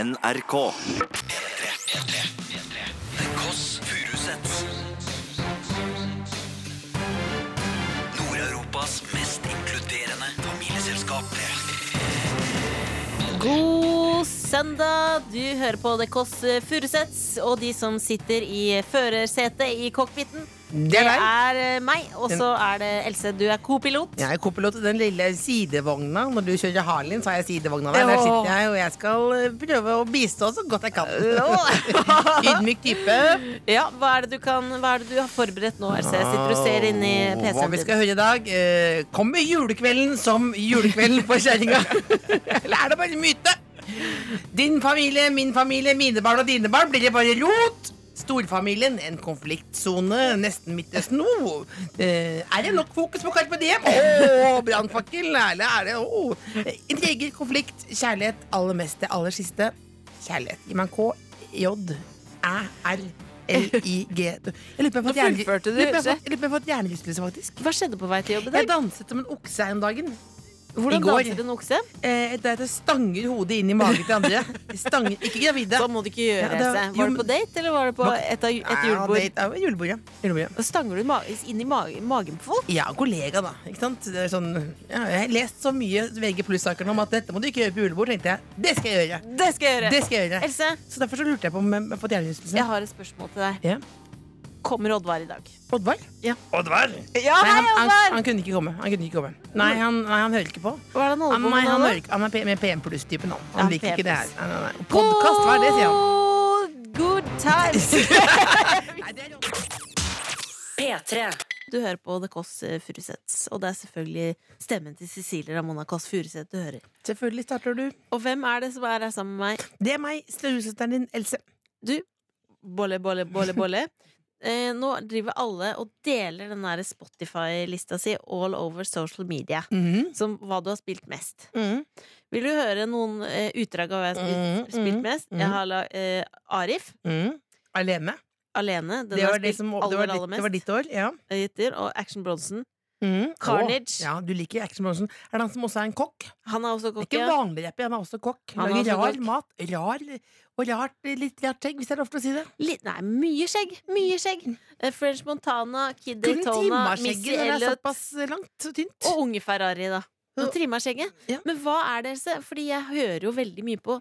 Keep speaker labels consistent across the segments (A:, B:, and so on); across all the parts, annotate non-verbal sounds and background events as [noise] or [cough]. A: NRK.
B: The Koss Furusets. Nord-Europas mest inkluderende familieselskap.
C: God søndag! Du hører på The Kåss Furuseths, og de som sitter i førersetet i cockpiten.
D: Det er deg.
C: eh, meg, og så er det Else. Du er co-pilot.
D: Jeg er kopilot i den lille sidevogna. Når du kjører Harlin, så har jeg sidevogna der. Der
C: Åh.
D: sitter jeg, og jeg skal eh, prøve å bistå så godt jeg
C: [laughs]
D: kan. Ydmyk type.
C: ja, hva er det du kan Hva er det du har forberedt nå, Else? Jeg sitter og ser inn i
D: Hva
C: PC-en
D: vi
C: din.
D: skal høre i dag? eh, Kommer julekvelden som julekvelden for
C: [laughs]
D: kjerringa? Eller er det bare en myte? Din familie, min familie, mine barn og dine barn. Blir det bare rot? Storfamilien, en konfliktsone, nesten Midtøsten. Oh, eh, er det nok fokus på Carpe Diem? Oh, Brannfakkel? Eller er det oh. Intriger, konflikt, kjærlighet. Aller mest det aller siste. Kjærlighet. Gi meg en K. J. Æ. R. L-I-G. Jeg lurer på om
C: Nå
D: jeg har fått
C: fullførte du,
D: hjerne- lurer på om jeg har
C: Else.
D: fått- jeg lurer på om jeg har fått hjernerystelse, faktisk.
C: Hva skjedde på vei til jobb i
D: Jeg
C: dag?
D: danset som en okse her om dagen. i
C: Hvordan
D: går.
C: danset en okse?
D: Eh, da jeg stanger hodet inn i magen til andre. Stanger, ikke gravide.
C: Sånn må du ikke gjøre,
D: Ja, det-
C: Else.
D: jo,
C: Var
D: men-
C: du på date, eller var du på et, av- et
D: Ja,
C: julebord?
D: det- ja, julebord, ja. Julebord, ja.
C: Da stanger du ma inn i ma magen på folk?
D: Ja, kollega, da. Ikke sant? Det er sånn, ja, jeg har lest så mye VG Pluss-saker nå om at dette må du ikke gjøre på julebord, tenkte jeg. Det skal jeg gjøre.
C: Det skal jeg gjøre!
D: Det skal jeg gjøre.
C: Else,
D: Så derfor så lurte jeg på om jeg har fått hjernerystelse.
C: jeg har et spørsmål til deg.
D: Ja.
C: Kommer Oddvar i dag?
D: Oddvar?
C: Ja.
D: Oddvar?
C: Ja,
D: Nei, han, han,
C: Oddvar!
D: han kunne ikke komme. Han kunne ikke komme. Nei, han, nei, han hører ikke på.
C: Hva er det han holder
D: Han,
C: på
D: nei,
C: med
D: han,
C: nå,
D: hører, ikke- han er P- med PM Pluss-typen, han.
C: Ja,
D: Han liker
C: PM+.
D: ikke det her. Nei, nei, nei.
C: da?
D: Podkast, hva er det, sier
C: Good-
D: han.
C: Good
D: [laughs]
C: times! du hører på The Kåss Furuseths, og det er selvfølgelig stemmen til Cecilie Ramona Kåss Furuseth du hører.
D: Selvfølgelig starter du.
C: Og hvem er det som er her sammen med meg?
D: Det er meg, storesøsteren din, Else.
C: Du, bolle, bolle, bolle,
D: [laughs]
C: bolle. Eh, nå driver alle og deler den der Spotify-lista si all over social media. Som hva du har spilt mest.
D: Mhm.
C: Vil du høre noen eh, utdrag av hva jeg har spilt,
D: Mhm,
C: spilt
D: mhm,
C: mest?
D: mhm.
C: Jeg har la, eh, Arif.
D: Mhm. Alene.
C: Alene. Den
D: Det
C: har
D: var,
C: jeg
D: det,
C: spilt
D: som, det,
C: aller,
D: var
C: aller
D: ditt, det var
C: mest.
D: ditt år. Ja.
C: Gitter, og Action Bronson.
D: Mhm.
C: Carnage.
D: Å, ja, du liker Action Bronson. Er det han som også er en kokk?
C: Han er også
D: Det er
C: kokk.
D: ikke
C: ja.
D: vanlig rapper, han er også kokk.
C: Han er
D: Lager
C: også
D: rar
C: kokk.
D: mat. Rar og rart, eh, litt rart skjegg, hvis det er lov til å si det.
C: Litt- Nei, mye skjegg! Mye skjegg! Eh, French Montana, Kid
D: Mm. Kunne
C: Daytona,
D: trimma
C: Missy
D: skjegget når det er
C: Elliot
D: såpass langt og tynt.
C: og unge Ferrari, da. Nå trimma jeg skjegget.
D: Ja.
C: Men hva er det, Else? Fordi jeg hører jo veldig mye på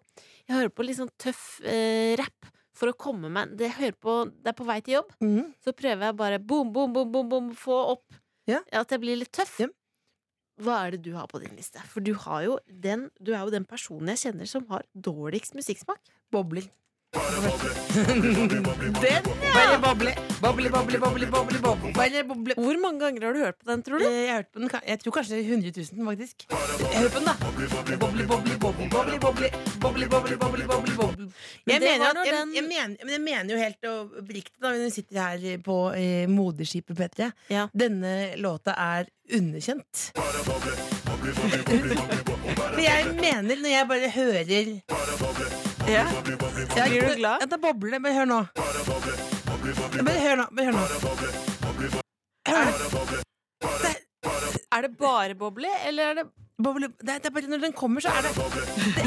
C: Jeg hører på litt sånn tøff eh, rapp for å komme meg det, jeg hører på, det er på vei til jobb,
D: Mhm.
C: så prøver jeg bare boom, boom, boom, boom, boom få opp
D: Ja.
C: at jeg blir litt tøff.
D: Ja.
C: Hva er det du har på din liste? For du, har jo den, du er jo den personen jeg kjenner som har dårligst musikksmak.
D: Bobler. [laughs] Den, ja! Bare boble, boble, boble, boble, boble, boble. Bare boble.
C: Hvor mange ganger har du hørt på den, tror du?
D: Eh, Jeg, hørte på den, ka- jeg tror kanskje 100 000, faktisk. Hør på den, da! Boble, boble, boble, boble, boble, boble, boble, boble, boble, boble.
C: Men
D: Jeg
C: det
D: mener,
C: var
D: at,
C: når
D: jeg,
C: den-
D: jeg, mener, men jeg mener jo helt oppriktig, da, når vi sitter her på eh, moderskipet P3
C: Ja.
D: Denne låta er underkjent. Men jeg mener, når jeg bare hører
C: Ja.
D: jeg,
C: Blir du glad?
D: Ja, da bobler det. Bare hør nå. Bare hør nå. Bare hør nå. Hør nå.
C: Er det bare boble, eller er det
D: Boble, det, er- det er bare Når den kommer, så er det det,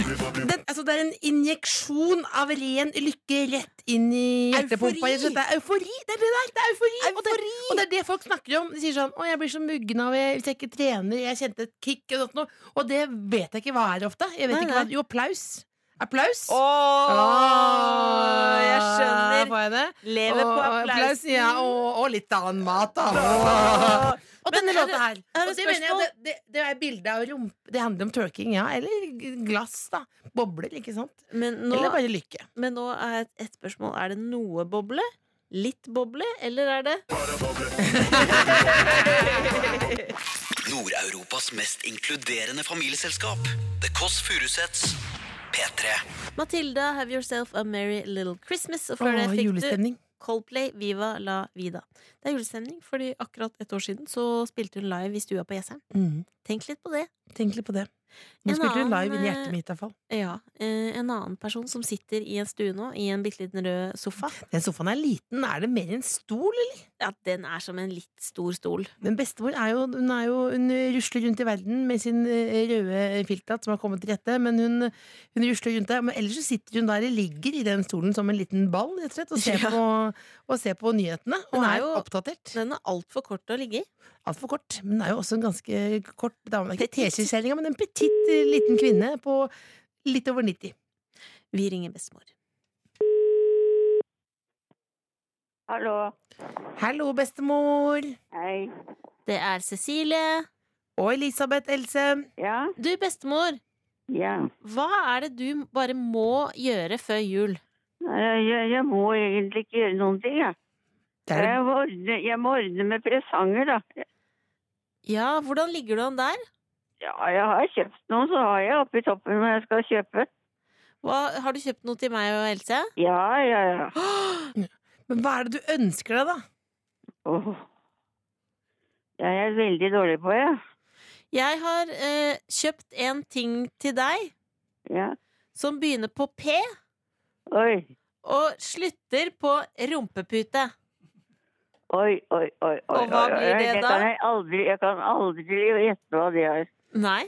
D: det, altså, det er en injeksjon av ren lykke rett inn i hjertepumpa.
C: Eufori.
D: Jeg synes Det er eufori! Det er det der! Det er eufori! Og, det, og det er det folk snakker om. De sier sånn 'Å, jeg blir så muggen av jeg- hvis jeg ikke trener. Jeg kjente et kick.' Og, sånt, noe. og det vet jeg ikke hva er ofte. Jeg vet
C: Nei,
D: ikke hva
C: nei.
D: Jo, applaus. Applaus.
C: Å, jeg
D: Åh,
C: skjønner.
D: Får jeg det?
C: Lever på
D: Åh,
C: applaus.
D: ja, og, og litt annen mat, da. Åh. Og
C: Men
D: denne
C: er det-
D: låta her.
C: er det
D: Og det, mener jeg,
C: spørsmål?
D: det, det, det er bilde av rump Det handler om twerking, ja. Eller glass, da. Bobler, ikke sant.
C: Men nå,
D: Eller bare lykke.
C: men nå er et, et spørsmål. Er det noe boble? Litt boble, eller er det
B: Nord-Europas mest inkluderende familieselskap. The Koss Furusets. P3.
C: Matilda, have yourself a merry little Christmas. Og før det
D: Åh,
C: fikk
D: julestemning.
C: du Coldplay, Viva la vida. Det er julestemning, fordi akkurat et år siden så spilte hun live i stua på Jessheim.
D: Mm.
C: Tenk litt på det.
D: Tenk litt på det. Nå
C: En
D: spilte du live
C: annen,
D: inn i
C: eh,
D: hjertet mitt, iallfall.
C: Ja, eh, En annen person som sitter i en stue nå, i en bitte liten rød sofa.
D: Den sofaen er liten. Er det mer en stol, eller?
C: [laughs] Ja, den er som en litt stor stol.
D: Men bestemor er jo, hun er jo Hun rusler rundt i verden med sin eh, røde filthatt som har kommet til rette, men hun, hun rusler rundt der. Men ellers så sitter hun der og ligger i den stolen som en liten ball, rett og slett, og ser
C: Ja.
D: på, og ser på nyhetene.
C: Hun
D: Hun
C: er
D: er
C: jo-
D: oppdatert.
C: Den er altfor kort til å ligge i.
D: Altfor kort, men hun er jo også en ganske kort dame. Ikke
C: Petit.
D: teskjekjerringa, men en petit eh, liten kvinne på litt over 90.
C: Vi ringer bestemor.
A: Hallo.
D: Hallo, bestemor!
A: Hei.
C: Det er Cecilie.
D: Og Elisabeth Else.
A: Ja?
C: Du, bestemor,
A: Ja.
C: hva er det du bare må gjøre før jul?
A: Eh, Jeg, jeg må egentlig ikke gjøre noen ting, jeg.
D: Det er det
A: Jeg må ordne, jeg må ordne med presanger, da.
C: Ja, hvordan ligger du an der?
A: Ja, jeg har kjøpt noen, så har jeg oppi toppen hva jeg skal kjøpe.
C: Hva, har du kjøpt noe til meg og Else?
A: Ja, ja, ja.
D: Men hva er det du ønsker deg, da?
A: Åh. Det er jeg veldig dårlig på, jeg.
C: Jeg har eh, kjøpt en ting til deg
A: Ja.
C: som begynner på P
A: Oi,
C: og slutter på rumpepute.
A: oi, oi, oi. oi
C: Og hva
A: oi, oi,
C: blir
A: oi.
C: det da?
A: Kan jeg, aldri, jeg kan aldri gjette hva det er.
C: Nei.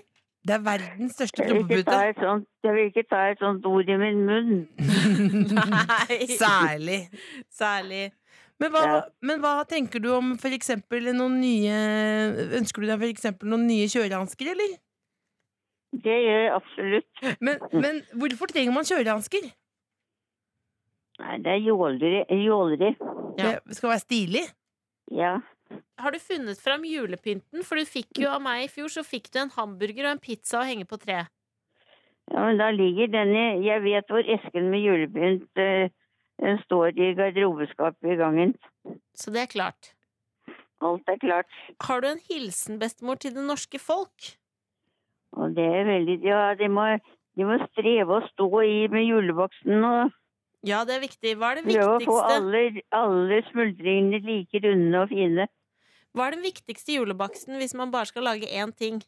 D: Det er verdens største
A: Jeg vil, ikke ta
D: [laughs] trompepute.
A: et sånt, jeg vil ikke ta et sånt ord i min munn.
C: [laughs] Nei. [laughs]
D: Særlig.
C: Særlig.
D: Men hva,
A: Ja.
D: men hva tenker du om for eksempel noen nye Ønsker du deg for eksempel noen nye kjørehansker, eller?
A: Det gjør jeg absolutt.
D: Men, men hvorfor trenger man kjørehansker?
A: Nei, det er jåleri. jåleri.
C: Ja.
D: Det skal være stilig.
A: Ja.
C: Har du funnet fram julepynten? For du fikk jo av meg i fjor så fikk du en hamburger og en pizza å henge på treet.
A: ja, men da ligger den i Jeg vet hvor esken med julepynt eh, Den står i garderobeskapet i gangen.
C: Så det er klart.
A: Alt er klart.
C: Har du en hilsen, bestemor, til det norske folk?
A: Og det er veldig Ja, de må, de må streve å stå i med juleboksen og
C: Ja, det er viktig. Hva er det
A: prøve å få
C: viktigste,
A: alle, alle smuldringene like runde og fine.
C: Hva er den viktigste julebaksten hvis man bare skal lage én ting?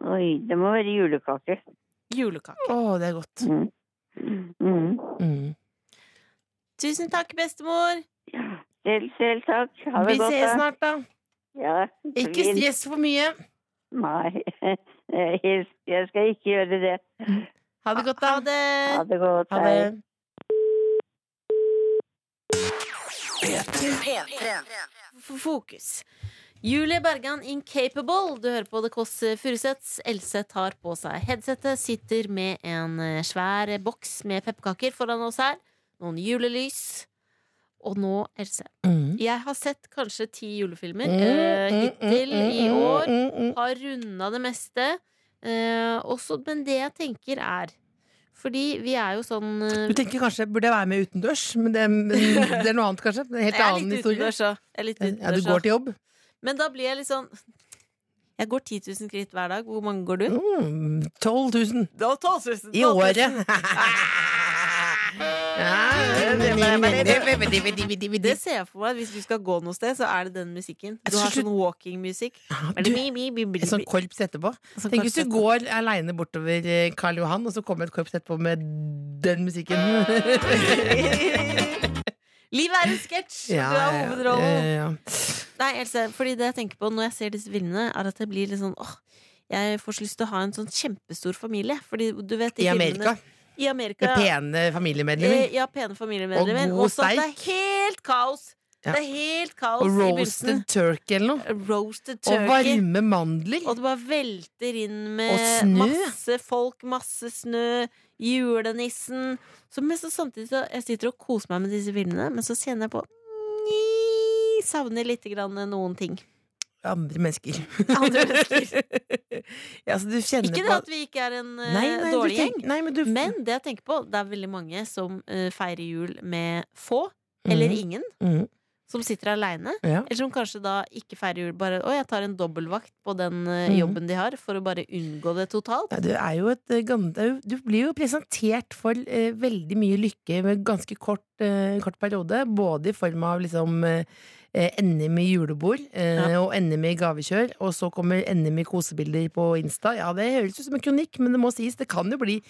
A: Oi, det må være julekake.
C: Julekake.
D: Å, det er godt.
A: Mm. Mm.
D: Mm.
C: Tusen takk, bestemor!
A: Selv, selv takk. Ha det
D: Vi
A: godt,
D: ses
A: da.
D: snart, da.
A: Ja,
D: Ikke
A: fint.
D: stress for mye.
A: [laughs] Nei, jeg jeg skal ikke gjøre det.
D: Ha det godt, da.
C: Ha det!
A: Ha det godt.
D: Ha det.
C: Mm. F- Fokus. Julie Bergan Incapable. Du hører på The Kåss Furuseths. Else tar på seg headsetet, sitter med en eh, svær boks med pepperkaker foran oss her. Noen julelys. Og nå, Else.
D: Mm.
C: Jeg har sett kanskje ti julefilmer eh, hittil
D: mm,
C: i år. Har runda det meste. Eh, også, men det jeg tenker er Fordi vi er jo sånn eh,
D: Du tenker kanskje burde jeg være med utendørs, men det, det er noe annet, kanskje? En helt
C: Jeg er
D: annen
C: litt
D: historie.
C: utendørs òg. Jeg er litt
D: Ja,
C: utendørs
D: du
C: også.
D: går til jobb?
C: Men da blir jeg litt sånn Jeg går 10 000 skritt hver dag. Hvor mange går du?
D: Mm, 12 000.
C: Da 12 000.
D: I
C: [laughs]
D: året.
C: Det ser jeg for meg. Hvis du skal gå noe sted, så er det den musikken. Du har sånn walking-musikk. Er det
D: Du,
C: mi, mi, mi, mi, mi,
D: et sånt korps etterpå.
C: sånn
D: Tenk hvis du
C: korset.
D: går aleine bortover eh, Karl Johan, og så kommer et korps etterpå med den
C: [laughs]
D: musikken.
C: [laughs] Livet er en sketsj! og du
D: Ja, ja, Eh.
C: har
D: ja.
C: hovedrollen.
D: Ja, ja.
C: Nei, Else, fordi det jeg tenker på når jeg ser disse filmene, er at jeg blir litt sånn åh, jeg får så lyst til å ha en sånn kjempestor familie. Fordi du vet
D: I
C: filmene-
D: Amerika.
C: I Amerika
D: Med
C: ja.
D: pene
C: Eh,
D: familiemedlemmer.
C: ja, pene familiemedlemmer. Og
D: Og god
C: Også at det er
D: steik.
C: helt kaos!
D: Ja.
C: Det er helt kaos
D: Og
C: i begynnelsen.
D: roasted turkey eller noe.
C: Roasted
D: Og
C: turkey.
D: varme mandler.
C: Og det bare velter inn
D: Og
C: med
D: snø.
C: masse folk, masse snø, julenissen så, Men så samtidig så jeg sitter og koser meg med disse filmene, men så kjenner jeg på Nji, Savner litt grann noen ting.
D: Andre mennesker.
C: Andre mennesker.
D: [laughs] ja, så du kjenner
C: Ikke det
D: på
C: at vi ikke er en eh,
D: Nei, nei, du
C: dårlig
D: tenk-
C: gjeng,
D: Nei, men du
C: men det
D: Mm.
C: jeg tenker på, det er veldig mange som eh, feirer jul med få eller ingen.
D: Mhm.
C: som sitter aleine,
D: Ja.
C: eller som kanskje da ikke feirer jul. Bare 'Å, jeg tar en dobbeltvakt på den eh,
D: Mhm.
C: jobben de har', for å bare unngå det totalt.
D: Ja, du, er jo et, eh, gam- det er jo- du blir jo presentert for eh, veldig mye lykke med ganske kort, eh, kort periode. Både i form av liksom eh, eh, NM i julebord eh, og NM i gavekjør. Og så kommer NM i kosebilder på Insta. Ja, det høres ut som en kronikk, men det må sies. Det kan jo bli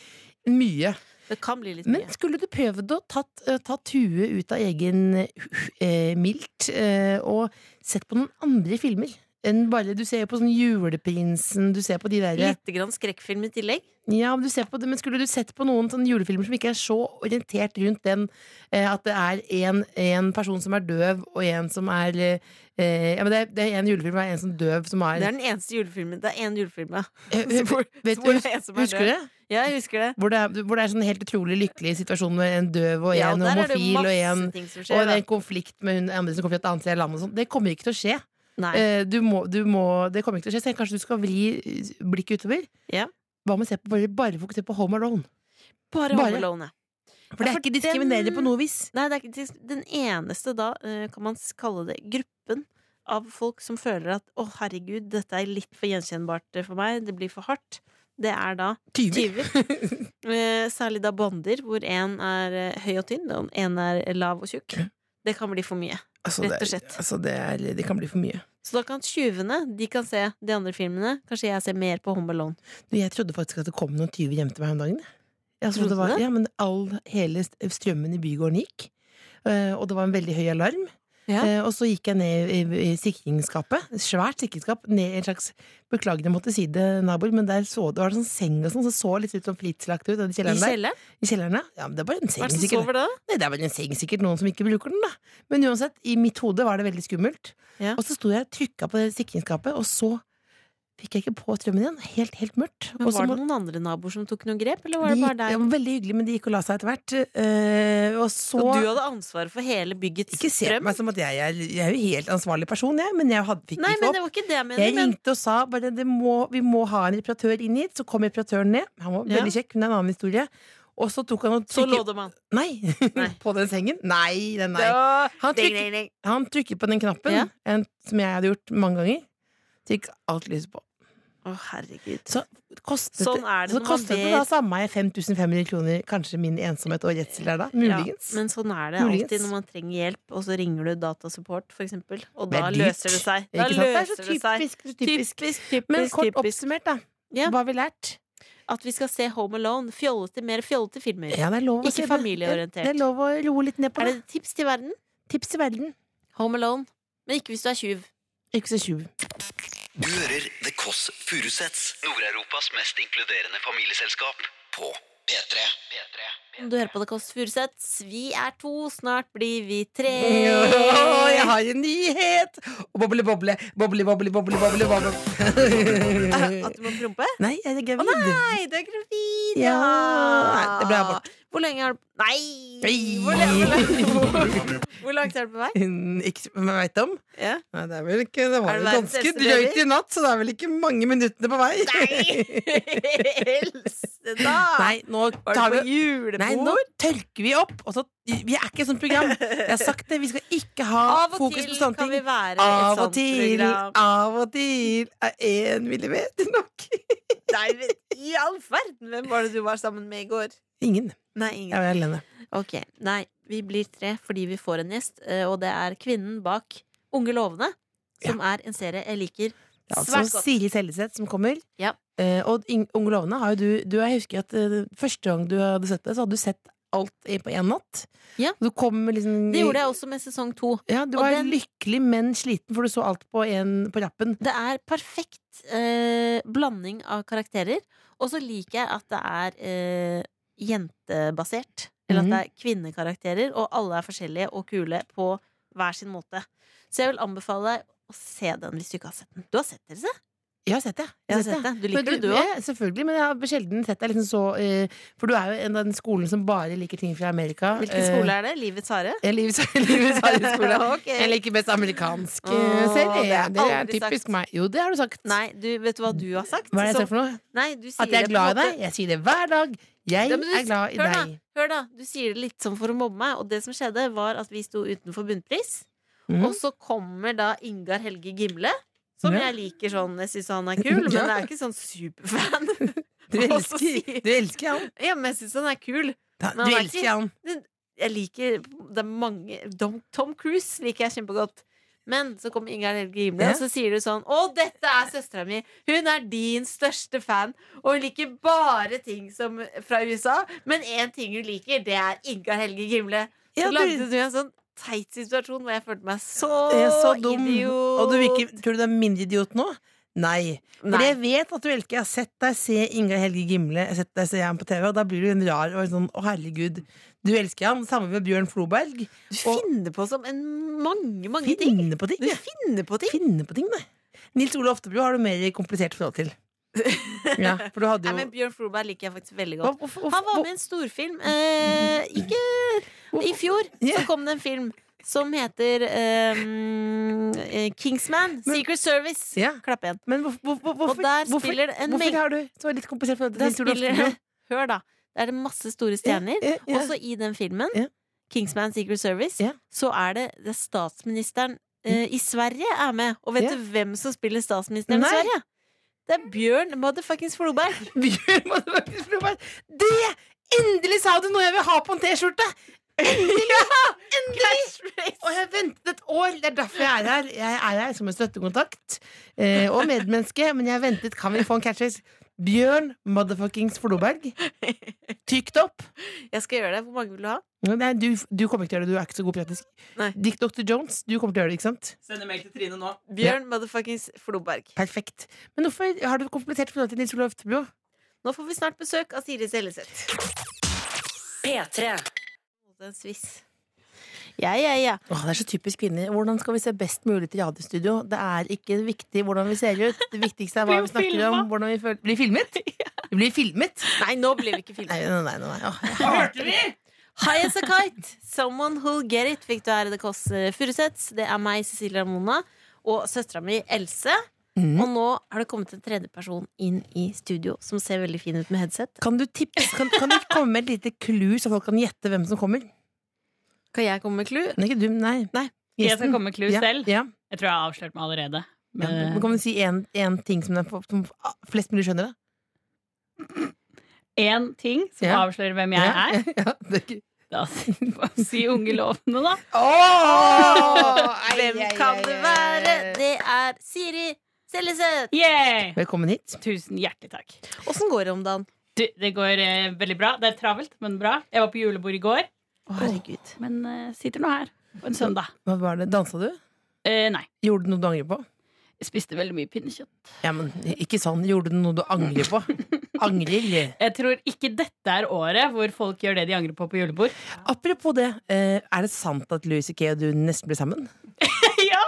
D: mye.
C: Det kan bli litt
D: Men
C: mye.
D: skulle du prøvd å tatt, eh, tatt huet ut av egen eh, hu- eh, milt eh, og sett på noen andre filmer? Enn bare, Du ser jo på sånn Juleprinsen, du ser på de derre
C: Lite grann skrekkfilm i tillegg.
D: ja, men, du ser på det, men Skulle du sett på noen sånne julefilmer som ikke er så orientert rundt den eh, at det er en, en person som er døv, og en som er eh, ja, men det, er- det er en julefilm hvor det er en som døv som
C: Det
D: er,
C: er den eneste julefilmen. Det er én julefilm, ja.
D: Eh, eh,
C: Hvor, [laughs]
D: vet,
C: hvor det er en som er
D: Husker du det?
C: ja, jeg husker det.
D: Hvor det, er, hvor det er sånn helt utrolig lykkelig situasjon med en døv og en
C: Ja, og der er det
D: homofil og
C: masse
D: en
C: ting som
D: og
C: skjer.
D: det er en
C: da.
D: konflikt med hun andre som kommer fra et annet sted i landet. og sånt. Det kommer ikke til å skje.
C: Nei.
D: Eh, Du må, du må, det kommer ikke til å skje Så kanskje du skal vri eh, blikket utover.
C: Ja.
D: Hva med å se på, bare, bare fokusere på Home Alone?
C: Bare
D: bare-
C: Home Alone. ja.
D: For det
C: Ja,
D: er
C: for
D: ikke diskriminerende
C: den-
D: på noe vis.
C: Nei, det er ikke dis- den eneste da, eh, kan man s- kalle det, gruppen av folk som føler at å, herregud, dette er litt for gjenkjennbart eh, for meg, det blir for hardt. Det er da tyver. Eh, Særlig da bonder, hvor én er eh, høy og tynn, og én er lav og tjukk. Det kan bli for mye.
D: [laughs] Altså,
C: Rett og
D: det er-
C: slett.
D: Altså, det, er, det kan bli for mye.
C: Så da kan tyvene de kan se de andre filmene. Kanskje jeg ser mer på Home Alone.
D: Du, jeg trodde faktisk at det kom noen tyver hjem til meg om dagen. jeg. Jeg trodde
C: Trodde
D: det var,
C: du det?
D: ja, men all, hele st- strømmen i bygården gikk. eh, Og det var en veldig høy alarm.
C: Ja.
D: Eh, Og så gikk jeg ned i, i sikringsskapet, et svært sikringsskap, ned i en slags Beklager, jeg måtte si det, naboer, men der så, det var en sånn seng og sånn, så så litt ut som fritslagt ut. og I
C: I
D: kjelleren der.
C: kjelleren?
D: I kjelleren, ja. ja men det er bare en
C: Hva
D: seng,
C: er det som
D: sikkert.
C: sover da?
D: Nei, det er vel en seng sikkert noen som ikke bruker den, da. Men uansett, i mitt hode var det veldig skummelt.
C: Ja.
D: Og så sto jeg og trykka på det sikringsskapet, og så fikk jeg ikke på strømmen igjen. Helt, helt mørkt.
C: Men
D: Og så
C: var det
D: må-
C: noen andre naboer som tok noen grep, eller var
D: de
C: det
D: gikk,
C: bare
D: det
C: deg?
D: var veldig hyggelig, men de gikk og la seg etter hvert. Eh, og så
C: Så du hadde ansvaret for hele byggets
D: Ikke se på
C: strøm?
D: meg som at jeg, er- jeg er jo helt ansvarlig person, jeg, men jeg hadde, fikk
C: Nei,
D: ikke
C: men
D: opp.
C: det var ikke det jeg
D: Jeg
C: mener. Men
D: ringte og sa bare det må, vi må ha en reparatør inn hit. Så kom reparatøren ned. Han var
C: Ja.
D: veldig kjekk, men det er en annen historie. Og så tok han og
C: så
D: trykket-
C: låde man.
D: Nei!
C: Nei.
D: [laughs] på den sengen. Nei, den nei.
C: Da-
D: Han
C: Ding,
D: trykket
C: ding, ding.
D: Han trykket på den knappen
C: Ja.
D: en, som jeg hadde gjort mange ganger. Så gikk alt lyset på.
C: Å, herregud.
D: Så kostet
C: Sånn er det
D: så
C: når man
D: kostet det
C: ber-
D: da samme 5500 kroner, kanskje min ensomhet og redsel der da. Muligens.
C: Ja, men sånn er det
D: Muligens.
C: alltid når man trenger hjelp, og så ringer du datasupport, for eksempel, og
D: Det er
C: da
D: dyrt.
C: løser det seg. Da
D: Ikke sant? Det er
C: løser
D: så
C: det seg.
D: typisk, så typisk.
C: typisk,
D: Men
C: typisk.
D: kort
C: typisk.
D: oppsummert, da.
C: Ja.
D: Hva har vi lært?
C: At vi skal se Home Alone. Fjollete, mer fjollete filmer.
D: Ja, det er lov å
C: Ikke
D: se det.
C: familieorientert.
D: Det er lov å roe litt ned på
C: Er
D: det.
C: det tips til verden?
D: Tips i verden.
C: Home Alone. Men ikke hvis du er tjuv.
D: Ikke så tjuv.
B: Du hører The Kåss Furuseths, Nord-Europas mest inkluderende familieselskap, på P3. P3.
C: Om du hører på det, Kåss Furuseth, vi er to, snart blir vi tre.
D: [laughs] [laughs] Åh, jeg har en nyhet! Boble, boble, boble, boble, boble, boble,
C: [laughs]
D: boble.
C: At du må prompe?
D: Nei, jeg er
C: Å
D: gravid.
C: nei, du er gravid!
D: Ja. Nei, det ble abort.
C: Hvor lenge har du Nei!
D: Nei.
C: Hvor, lenge, hvor, lenge, [laughs] hvor langt er det på vei?
D: Hun- Ikke som jeg veit om.
C: Ja.
D: Nei, det, er vel ikke, det var
C: Er det
D: vel
C: verdens
D: ganske
C: eldste
D: drøyt
C: baby?
D: i natt, så det er vel ikke mange minuttene på vei. [laughs]
C: Helse, da!
D: Nei, nå
C: Var
D: tar
C: det på
D: vi
C: julebord?
D: Nei, nå tørker vi opp. Og så, vi er ikke et sånt program. Jeg har sagt det, vi skal ikke ha
C: Av og
D: fokus
C: til
D: på sånne
C: kan vi
D: ting.
C: være et
D: Av og
C: sånt
D: til,
C: program.
D: av og til er én millimeter nok.
C: Nei, men i all verden! Hvem var det du var sammen med i går?
D: Ingen.
C: Nei,
D: Jeg
C: ingen.
D: er alene.
C: Ok, Nei, vi blir tre fordi vi får en gjest, eh, og det er kvinnen bak Unge lovende, som er en serie jeg liker
D: Det er
C: svært
D: altså
C: godt.
D: Siri Seljeseth som kommer.
C: Ja.
D: Eh, og Ing- Unge lovende har jo du, du Jeg husker at eh, første gang du hadde sett det, så hadde du sett alt i- på én natt.
C: Ja.
D: Du kom liksom
C: Det gjorde jeg også med sesong to.
D: Ja, du
C: Og
D: var
C: den-
D: lykkelig, men sliten, for du så alt på, en, på rappen.
C: Det er perfekt eh, blanding av karakterer. Og så liker jeg at det er eh, jentebasert. Eller at det er kvinnekarakterer, og alle er forskjellige og kule på hver sin måte. Så jeg vil anbefale deg å se den hvis du ikke har sett den. Du har sett den, ikke?
D: Jeg har sett det.
C: Jeg har sett det. Du liker det, du òg.
D: Ja, selvfølgelig, men jeg har sjelden sett deg liksom så eh, For du er jo en av den skolen som bare liker ting fra Amerika.
C: Hvilken skole er det? Livets harde?
D: det? Livets Eh. [laughs] Livets harde
C: [laughs]
D: skole.
C: Ok.
D: Jeg liker best amerikansk eh,
C: Åh,
D: selv.
C: det
D: Det,
C: har jeg
D: det er
C: aldri
D: typisk
C: sagt.
D: meg. Jo, det har du sagt.
C: Nei, du, vet du hva du har sagt?
D: Hva er det jeg
C: Som-
D: sagt for noe?
C: Nei, du sier
D: At jeg
C: det
D: er
C: på en
D: glad i
C: måte-
D: deg? Jeg sier det hver dag. Jeg
C: Ja, men du-
D: er glad i
C: hør
D: deg.
C: Da, hør da, du sier det litt sånn for å mobbe meg, og det som skjedde, var at vi sto utenfor Bunnpris.
D: Mhm.
C: Og så kommer da Ingar Helge Gimle, som
D: Ja.
C: jeg liker sånn. Jeg syns han er
D: [laughs]
C: kul, men
D: Ja.
C: jeg er ikke sånn superfan.
D: [laughs] Du
C: Og så
D: elsker,
C: sier-
D: du elsker han.
C: Ja, men jeg syns han er kul.
D: Da,
C: Men
D: du
C: han er
D: elsker
C: ikke-
D: han.
C: Jeg liker det er mange Tom, Tom Cruise liker jeg kjempegodt. Men så kommer Ingar Helge Gimle,
D: Ja.
C: og så sier du sånn Å, dette er søstera mi! Hun er din største fan, og hun liker bare ting som, fra USA. Men én ting hun liker, det er Ingar Helge Gimle. Så
D: Ja,
C: lagde
D: du,
C: du en sånn teit situasjon hvor jeg følte meg så,
D: jeg er så dum.
C: idiot.
D: Og du vil ikke, tror du du er mindre idiot nå? Nei. For
C: Nei.
D: jeg vet at du elsker. Jeg har sett deg se Inga Helge Gimle, jeg har sett deg se ham på TV, og da blir du en rar og sånn 'Å, herregud'. Du elsker ham. Samme med Bjørn Floberg.
C: Du
D: og-
C: finner på som en mange,
D: [laughs]
C: mange ting.
D: Finne på ting.
C: Du
D: ja.
C: finner på ting.
D: Finne på ting, nei. Nils Ole Oftebro har du mer komplisert forhold
C: [laughs]
D: til. Ja, for du hadde
C: Nei,
D: jo
C: men Bjørn Floberg liker jeg faktisk veldig godt.
D: Hva- hvorfor-
C: Han var
D: hvor-
C: med i en storfilm. Eh, ikke I fjor så
D: Ja.
C: kom det en film som heter eh, eh, Kingsman.
D: Men-
C: Secret Service.
D: Ja.
C: Klapp igjen.
D: Men hvorfor, hvor, hvor, hvorfor,
C: Og der
D: hvorfor,
C: spiller det en
D: hvorfor
C: meng-
D: har du så litt komplisert forhold til
C: Der
D: Nils Ole
C: spiller
D: Oftebro?
C: Hør, da. Der er det masse store stjerner.
D: Ja, ja, ja. [laughs]
C: Også i den filmen,
D: Ja.
C: Kingsman Secret Service,
D: Ja. Mm.
C: så er det, det er statsministeren eh, i Sverige er med. Og vet
D: Ja.
C: du hvem som spiller statsministeren
D: Nei.
C: i Sverige? Det er Bjørn motherfuckings
D: [laughs]
C: Floberg.
D: Bjørn måtte faktisk prøve meg. Det! Endelig sa du noe jeg vil ha på en T-skjorte!
C: [laughs]
D: Endelig! Endelig! Og jeg har ventet et år. Det er derfor jeg er her. Jeg er her som en støttekontakt eh, og medmenneske, men jeg har ventet. Kan vi få en catchphrase? Bjørn motherfuckings Floberg. Tykt opp.
C: Jeg skal gjøre det. Hvor mange vil du ha?
D: Nei, du, du kommer ikke til å gjøre det. Du er ikke så god praktisk.
C: Nei.
D: Dick Dr. Jones, du kommer til å gjøre det, ikke sant?
E: Sender mail til Trine nå.
C: Bjørn motherfuckings Floberg.
D: Perfekt. Men hvorfor har du komplettert forhold til Nils Olav Tebro?
C: Nå får vi snart besøk av Siri Selleseth.
F: P3.
C: En sviss. Ja, ja, ja.
D: Åh, det er så typisk kvinner. Hvordan skal vi se best mulig ut i radiostudio? Det er ikke viktig hvordan vi ser ut. Det viktigste er hva vi snakker om. Hvordan vi føler. Blir [laughs] filmet? Vi blir filmet?
C: Nei, nå blir vi ikke
E: [laughs]
C: filmet.
D: Nei, nei, nei. nei. Åh, jeg
E: Hørte vi?
C: High as a kite. Someone who'll get it, fikk du her i The Kåss eh, Furuseths. Det er meg, Cecilie Ramona, og søstera mi Else.
D: Mm.
C: Og nå har det kommet en tredjeperson inn i studio som ser veldig fin ut med headset.
D: Kan du, tips, kan, kan du komme med et lite clue, så folk kan gjette hvem som kommer?
C: Kan jeg komme med clou?
D: Det er ikke du, nei.
C: Nei.
E: Jeg skal komme med clue
D: ja,
E: selv.
D: Ja.
E: Jeg tror jeg har avslørt meg allerede.
D: Ja,
E: Men,
D: men kan du si én ting som, er på, som ah, flest mulig skjønner? Da?
E: Én eh, ting som
D: Ja.
E: avslører hvem jeg er.
D: Ja, [laughs] ja, det er ikke...
E: Da [laughs] si, si ungelovene, da.
C: Hvem kan det være? Det er Siri Seljeseth.
E: Yeah!
D: Velkommen hit.
E: Tusen hjertelig takk.
C: Åssen går det om dagen?
E: Du, det går eh, veldig bra. Det er travelt, men bra. Jeg var på julebord i går,
C: Å, herregud.
E: men eh, sitter nå her på en søndag.
D: Hva var det? Dansa du?
E: Eh, nei.
D: Gjorde du noe du angrer på?
E: Jeg spiste veldig mye pinnekjøtt.
D: Ja, men ikke sånn. Gjorde du noe du angrer
C: [laughs]
D: på? Angrer?
E: Jeg tror ikke dette er året hvor folk gjør det de angrer på på julebord. [laughs]
D: Apropos det, eh, er det sant at Louis C.K. og du nesten ble sammen?
E: ja!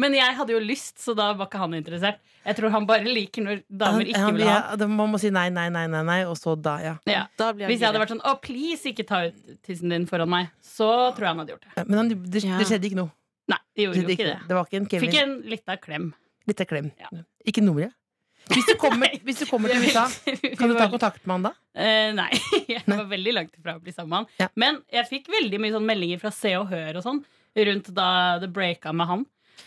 E: Men jeg hadde jo lyst, så da var ikke han interessert. Jeg tror han bare liker når damer ikke
D: Han-
E: vil ha.
D: ja, det- Man må si nei, nei, nei, nei, nei og så da, ja.
E: Ja.
C: Da blir
E: Hvis jeg hadde
C: gira.
E: vært sånn 'Å, please, ikke ta ut tissen din foran meg', så tror jeg han hadde gjort det.
D: Ja, Men han, det, det
C: Ja.
D: skjedde ikke noe.
E: Nei, det gjorde
D: Det,
E: jo
D: skjedde
E: ikke
D: ikke,
E: det.
D: det var ikke en Kevin.
E: Fikk en lita klem.
D: Litt av klem.
E: Ja.
D: Ikke nummeret. Hvis du
E: [laughs]
D: kommer, hvis du kommer til USA, kan du ta kontakt med han da?
E: Eh, nei, [laughs] jeg var veldig langt ifra å bli sammen med han.
D: Ja.
E: Men jeg fikk veldig mye sånn meldinger fra Se og Hør og sånn rundt da det breaka med han.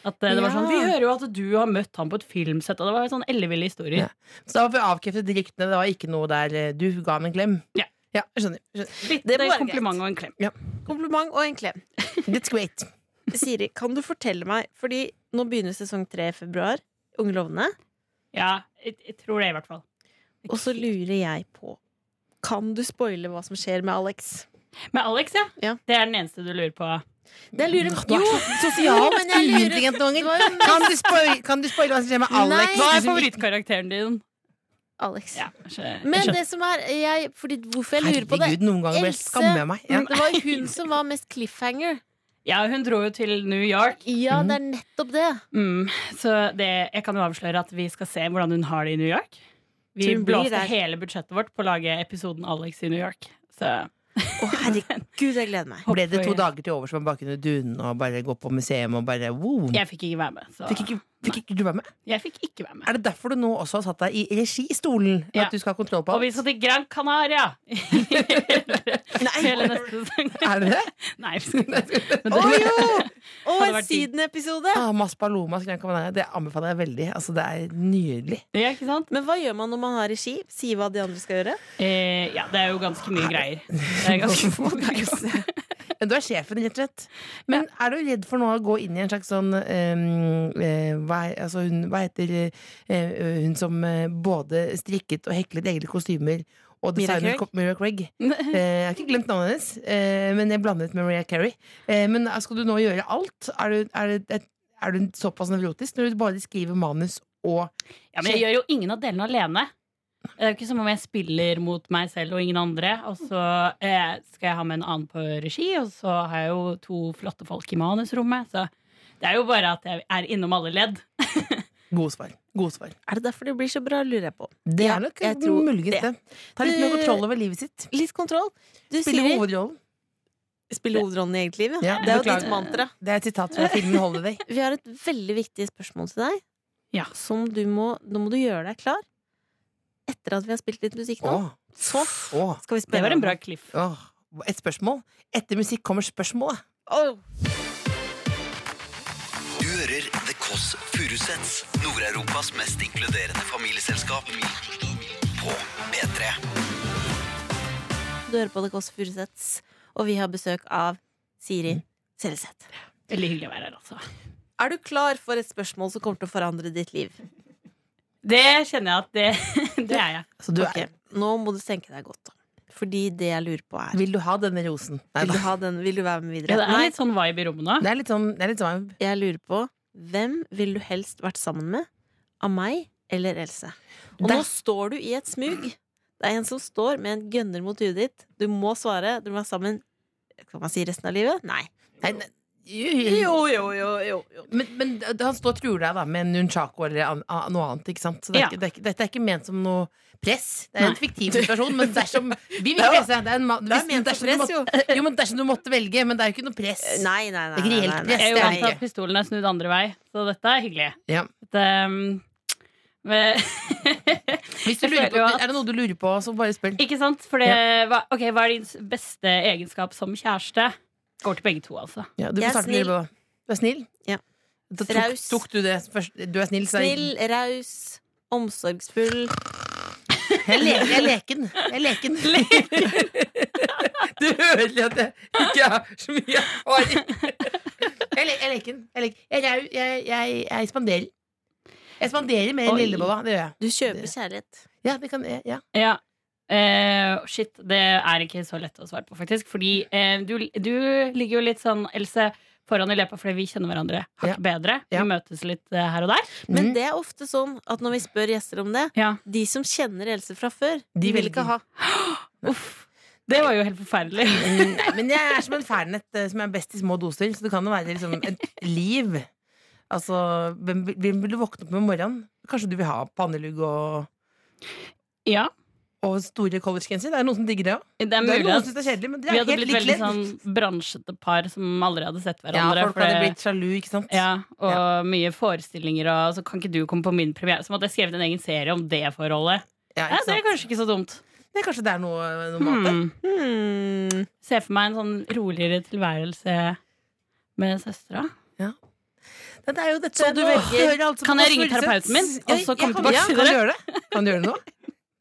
E: At eh, det var
C: Ja.
E: sånn Vi hører jo at du har møtt han på et filmsett, og det var sånn elleville historier.
D: Ja. Så da har vi avkreftet ryktene. Det var ikke noe der eh, du ga ham en klem.
E: Ja.
D: Ja, skjønner. skjønner.
E: Litt eh,
C: Det var greit.
E: kompliment og en klem.
C: Kompliment og en klem.
D: That's great.
C: Siri, kan du fortelle meg, fordi nå begynner sesong tre i februar, Unge lovende,
E: Ja, jeg, jeg tror det, i hvert fall.
C: og så lurer jeg på Kan du spoile hva som skjer med Alex?
E: Med Alex, ja.
C: Ja.
E: Det er den eneste du lurer på.
C: Det jeg lurer
D: Du er så sosialt
C: men jeg lurer-
D: uintelligent noen
C: Det
D: ganger.
C: var jo
D: Kan du spoil- Kan du spoile hva som skjer med Alex?
C: Nei.
D: Du
E: Hva er
D: som ikke-
E: favorittkarakteren din?
C: Alex.
E: Ja, kanskje- jeg
C: Men
E: skjønner.
C: det som er jeg, fordi Hvorfor jeg lurer på det?
D: Herregud, noen ganger bør jeg
C: Else- mm,
D: skamme meg. Ja.
C: Det var jo hun som var mest cliffhanger.
E: ja, hun dro jo til New York.
C: Ja,
D: Mhm.
C: det er nettopp det.
E: Mm, så det, jeg kan jo avsløre at vi skal se hvordan hun har det i New York.
C: Så
E: Vi
C: hun blir
E: blåste
C: der.
E: hele budsjettet vårt på å lage episoden Alex i New York. Så
C: Å, herregud, jeg gleder
D: [laughs]
C: meg.
D: Ble det to
E: håper jeg-
D: dager til overs med bak under dunen og bare gå på museum og bare wow?
E: Jeg fikk ikke være med. Så
D: Fikk ikke, fikk ikke du være med?
E: jeg fikk ikke være med.
D: Er det derfor du nå også har satt deg i registolen?
E: Ja.
D: At du skal ha kontroll på
E: Og vi
D: alt?
E: skal til Gran Canaria! hele, hele neste sesong. [laughs]
D: Er det det?
E: Nei, vi skal ikke det. Men
D: Å
E: det,
D: [laughs] jo!
E: Hadde
C: år
E: vært digg.
C: siden episode!
D: Ah, Maspaloma skrank og banana, det anbefaler jeg veldig. Altså, det er nydelig.
E: Ja, ikke sant?
C: Men hva gjør man når man har regi? Si hva de andre skal gjøre?
E: Eh, ja, det er jo ganske mye greier. Det er
C: [laughs]
E: ganske mye greier.
D: Men du er sjefen, rett og slett. Men er du redd for nå å gå inn i en slags sånn ehm, eh, hva, er- altså hun, hva heter eh, eh, hun som eh, både strikket og heklet egne kostymer og
C: Mira
D: designet
C: Craig?
D: ko- Mira Craig? [laughs] Eh, jeg har ikke glemt navnet hennes, eh, men jeg blandet med Maria Carey. Eh, men eh, skal du nå gjøre alt? Er du, er du, er, du såpass nevrotisk når du bare skriver manus og
E: Ja, men jeg gjør jo ingen av delene alene. Det er jo ikke som om jeg spiller mot meg selv og ingen andre. Og så eh, skal jeg ha med en annen på regi, og så har jeg jo to flotte folk i manusrommet. Så det er jo bare at jeg er innom alle ledd.
D: Gode svar. Gode svar.
C: Er det derfor det blir så bra, lurer jeg på.
D: Det
C: Ja,
D: er nok
C: jeg tror
D: muligens det.
C: det.
D: Ta litt mer
C: Du-
D: kontroll over livet sitt.
C: Litt kontroll. Du
D: Spille
C: Siri,
D: hovedrollen.
C: spiller hovedrollen i eget liv. Ja.
D: Ja,
C: det er jo
D: beklager.
C: ditt mantra.
D: Det er et sitat fra filmen Holiday.
C: Vi har et veldig viktig spørsmål til deg.
E: Ja.
C: Som du må, nå må du gjøre deg klar. Etter at vi har spilt litt musikk nå,
D: [laughs] Åh,
C: så
D: åh,
C: skal vi spille.
E: Det var en bra cliff.
D: åh. Et spørsmål. Etter musikk kommer spørsmålet.
C: Åh,
B: Du hører The Kåss Furuseths, Nord-Europas mest inkluderende familieselskap. På P3.
C: du hører på The Kåss Furuseths, og vi har besøk av
E: Mm.
C: Siri Seleseth.
E: Veldig hyggelig å være her, altså.
C: Er du klar for et spørsmål som kommer til å forandre ditt liv?
E: Det kjenner jeg at det, [laughs] det er jeg.
D: Så du,
C: Ok, Nå må du tenke deg godt om. Fordi det jeg lurer på, er
D: Vil du ha denne rosen? Nei
C: Vil du,
D: da.
C: ha den, vil du være med
E: Ja,
C: videre?
E: det er litt sånn vibe i rommet nå.
D: Det er litt sånn, det er litt sånn vibe.
C: Jeg lurer på hvem ville du helst vært sammen med? Av meg eller Else? Og
D: Der-
C: nå står du i et smug. Det er en som står med en gønner mot huet ditt. Du må svare. Dere må være sammen Kan man si resten av livet? Nei.
D: Nei, nei. Jo, jo, jo, jo, jo. Men, men han står og truer deg da med en nunchako eller an, an, noe annet. ikke sant? Så det er,
E: Ja.
D: ikke, det er, ikke- dette er ikke ment som noe press. Det er en
E: Nei.
D: fiktiv situasjon. Men dersom Vi vil
C: Det er
D: ikke
C: jo-
D: presse. Det er, en, ma- hvis-
C: ment som
D: dersom du
C: press,
D: måtte, [laughs] jo, men dersom du måtte velge. Men det er jo ikke noe press.
C: Nei, nei, nei.
D: Det er ikke
C: nei,
D: reelt
C: nei,
D: press,
E: Jeg er jo
D: det er
E: vant
D: det
E: til
C: nei.
E: at pistolen er snudd andre vei, så dette er hyggelig.
D: Ja.
E: Det, um, men-
D: Hvis du
E: Jeg
D: lurer
E: føler jo
D: på,
E: at-
D: er det noe du lurer på, så bare spør.
E: [laughs] ikke sant? For det, hva, ok, hva er din beste egenskap som kjæreste? Går til begge to, altså.
D: Ja, du,
C: Jeg er
D: får starte med å lure på. du er snill?
C: Ja.
D: Da tok,
C: Raus.
D: tok du det først? Du er snill, så jeg-
C: Snill, raus, omsorgsfull.
D: Jeg, le, jeg er leken. Jeg er
E: [laughs]
D: leken. du hører at jeg ikke har så mye erfaring.
E: [laughs]
D: Jeg, le, jeg er leken. Jeg, er leken. Jeg, rau- jeg, jeg, jeg spanderer. Jeg spanderer mer enn
E: Oi.
D: lillebolla. Det gjør jeg.
C: Du kjøper
D: Det-
C: kjærlighet.
D: Ja, det kan, jeg- ja.
E: Ja. Eh, shit, det er ikke så lett å svare på, faktisk. Fordi eh, du, du ligger jo litt sånn, Else, foran i løypa fordi vi kjenner hverandre
D: Ja.
E: hakket bedre.
D: Ja.
E: Vi møtes litt eh, her og der.
C: Men
D: Mm.
C: det er ofte sånn at når vi spør gjester om det,
E: Ja.
C: de som kjenner Else fra før,
D: De
C: de vil
D: velger.
C: ikke ha.
E: Det var jo helt forferdelig.
D: [laughs] Mm, Nei, men jeg er som en fernet eh, som er best i små doser, så det kan jo være liksom et liv. Altså, hvem, vil- hvem vil du våkne opp med om morgenen? Kanskje du vil ha pannelugg og,
E: Ja,
D: og store collegegenser? Det er noen som digger det òg.
E: det er
D: Det er
E: mulig
D: noen som
E: at
D: synes det er kjedelig, men det
E: vi
D: er
E: hadde
D: helt
E: blitt veldig
D: likt.
E: sånn bransjete par som aldri hadde sett
D: Ja,
E: hverandre.
D: folk
E: for
D: hadde
E: det-
D: blitt sjalu, ikke sant?
E: Ja, og mye forestillinger, og så kan ikke du komme på min premiere. Som at jeg skrevet en egen serie om det forholdet.
D: Ja,
E: Ja,
D: ikke
E: det er
D: sant?
E: kanskje ikke så dumt.
D: Det er kanskje det er noe, noe mat der.
E: Hmm.
C: Hmm.
E: Se for meg en sånn roligere tilværelse med søstera.
D: Det, det er jo dette
C: Så du
D: Nå
C: velger-
D: hører altså på
E: Kan jeg
D: Kåss
E: ringe
D: Furuseth.
E: terapeuten min, og
D: Jeg-
E: så
D: jeg
E: komme
D: kan-
E: tilbake
D: ja,
E: til
D: Kan du
E: det?
D: gjøre det? Kan du gjøre det nå?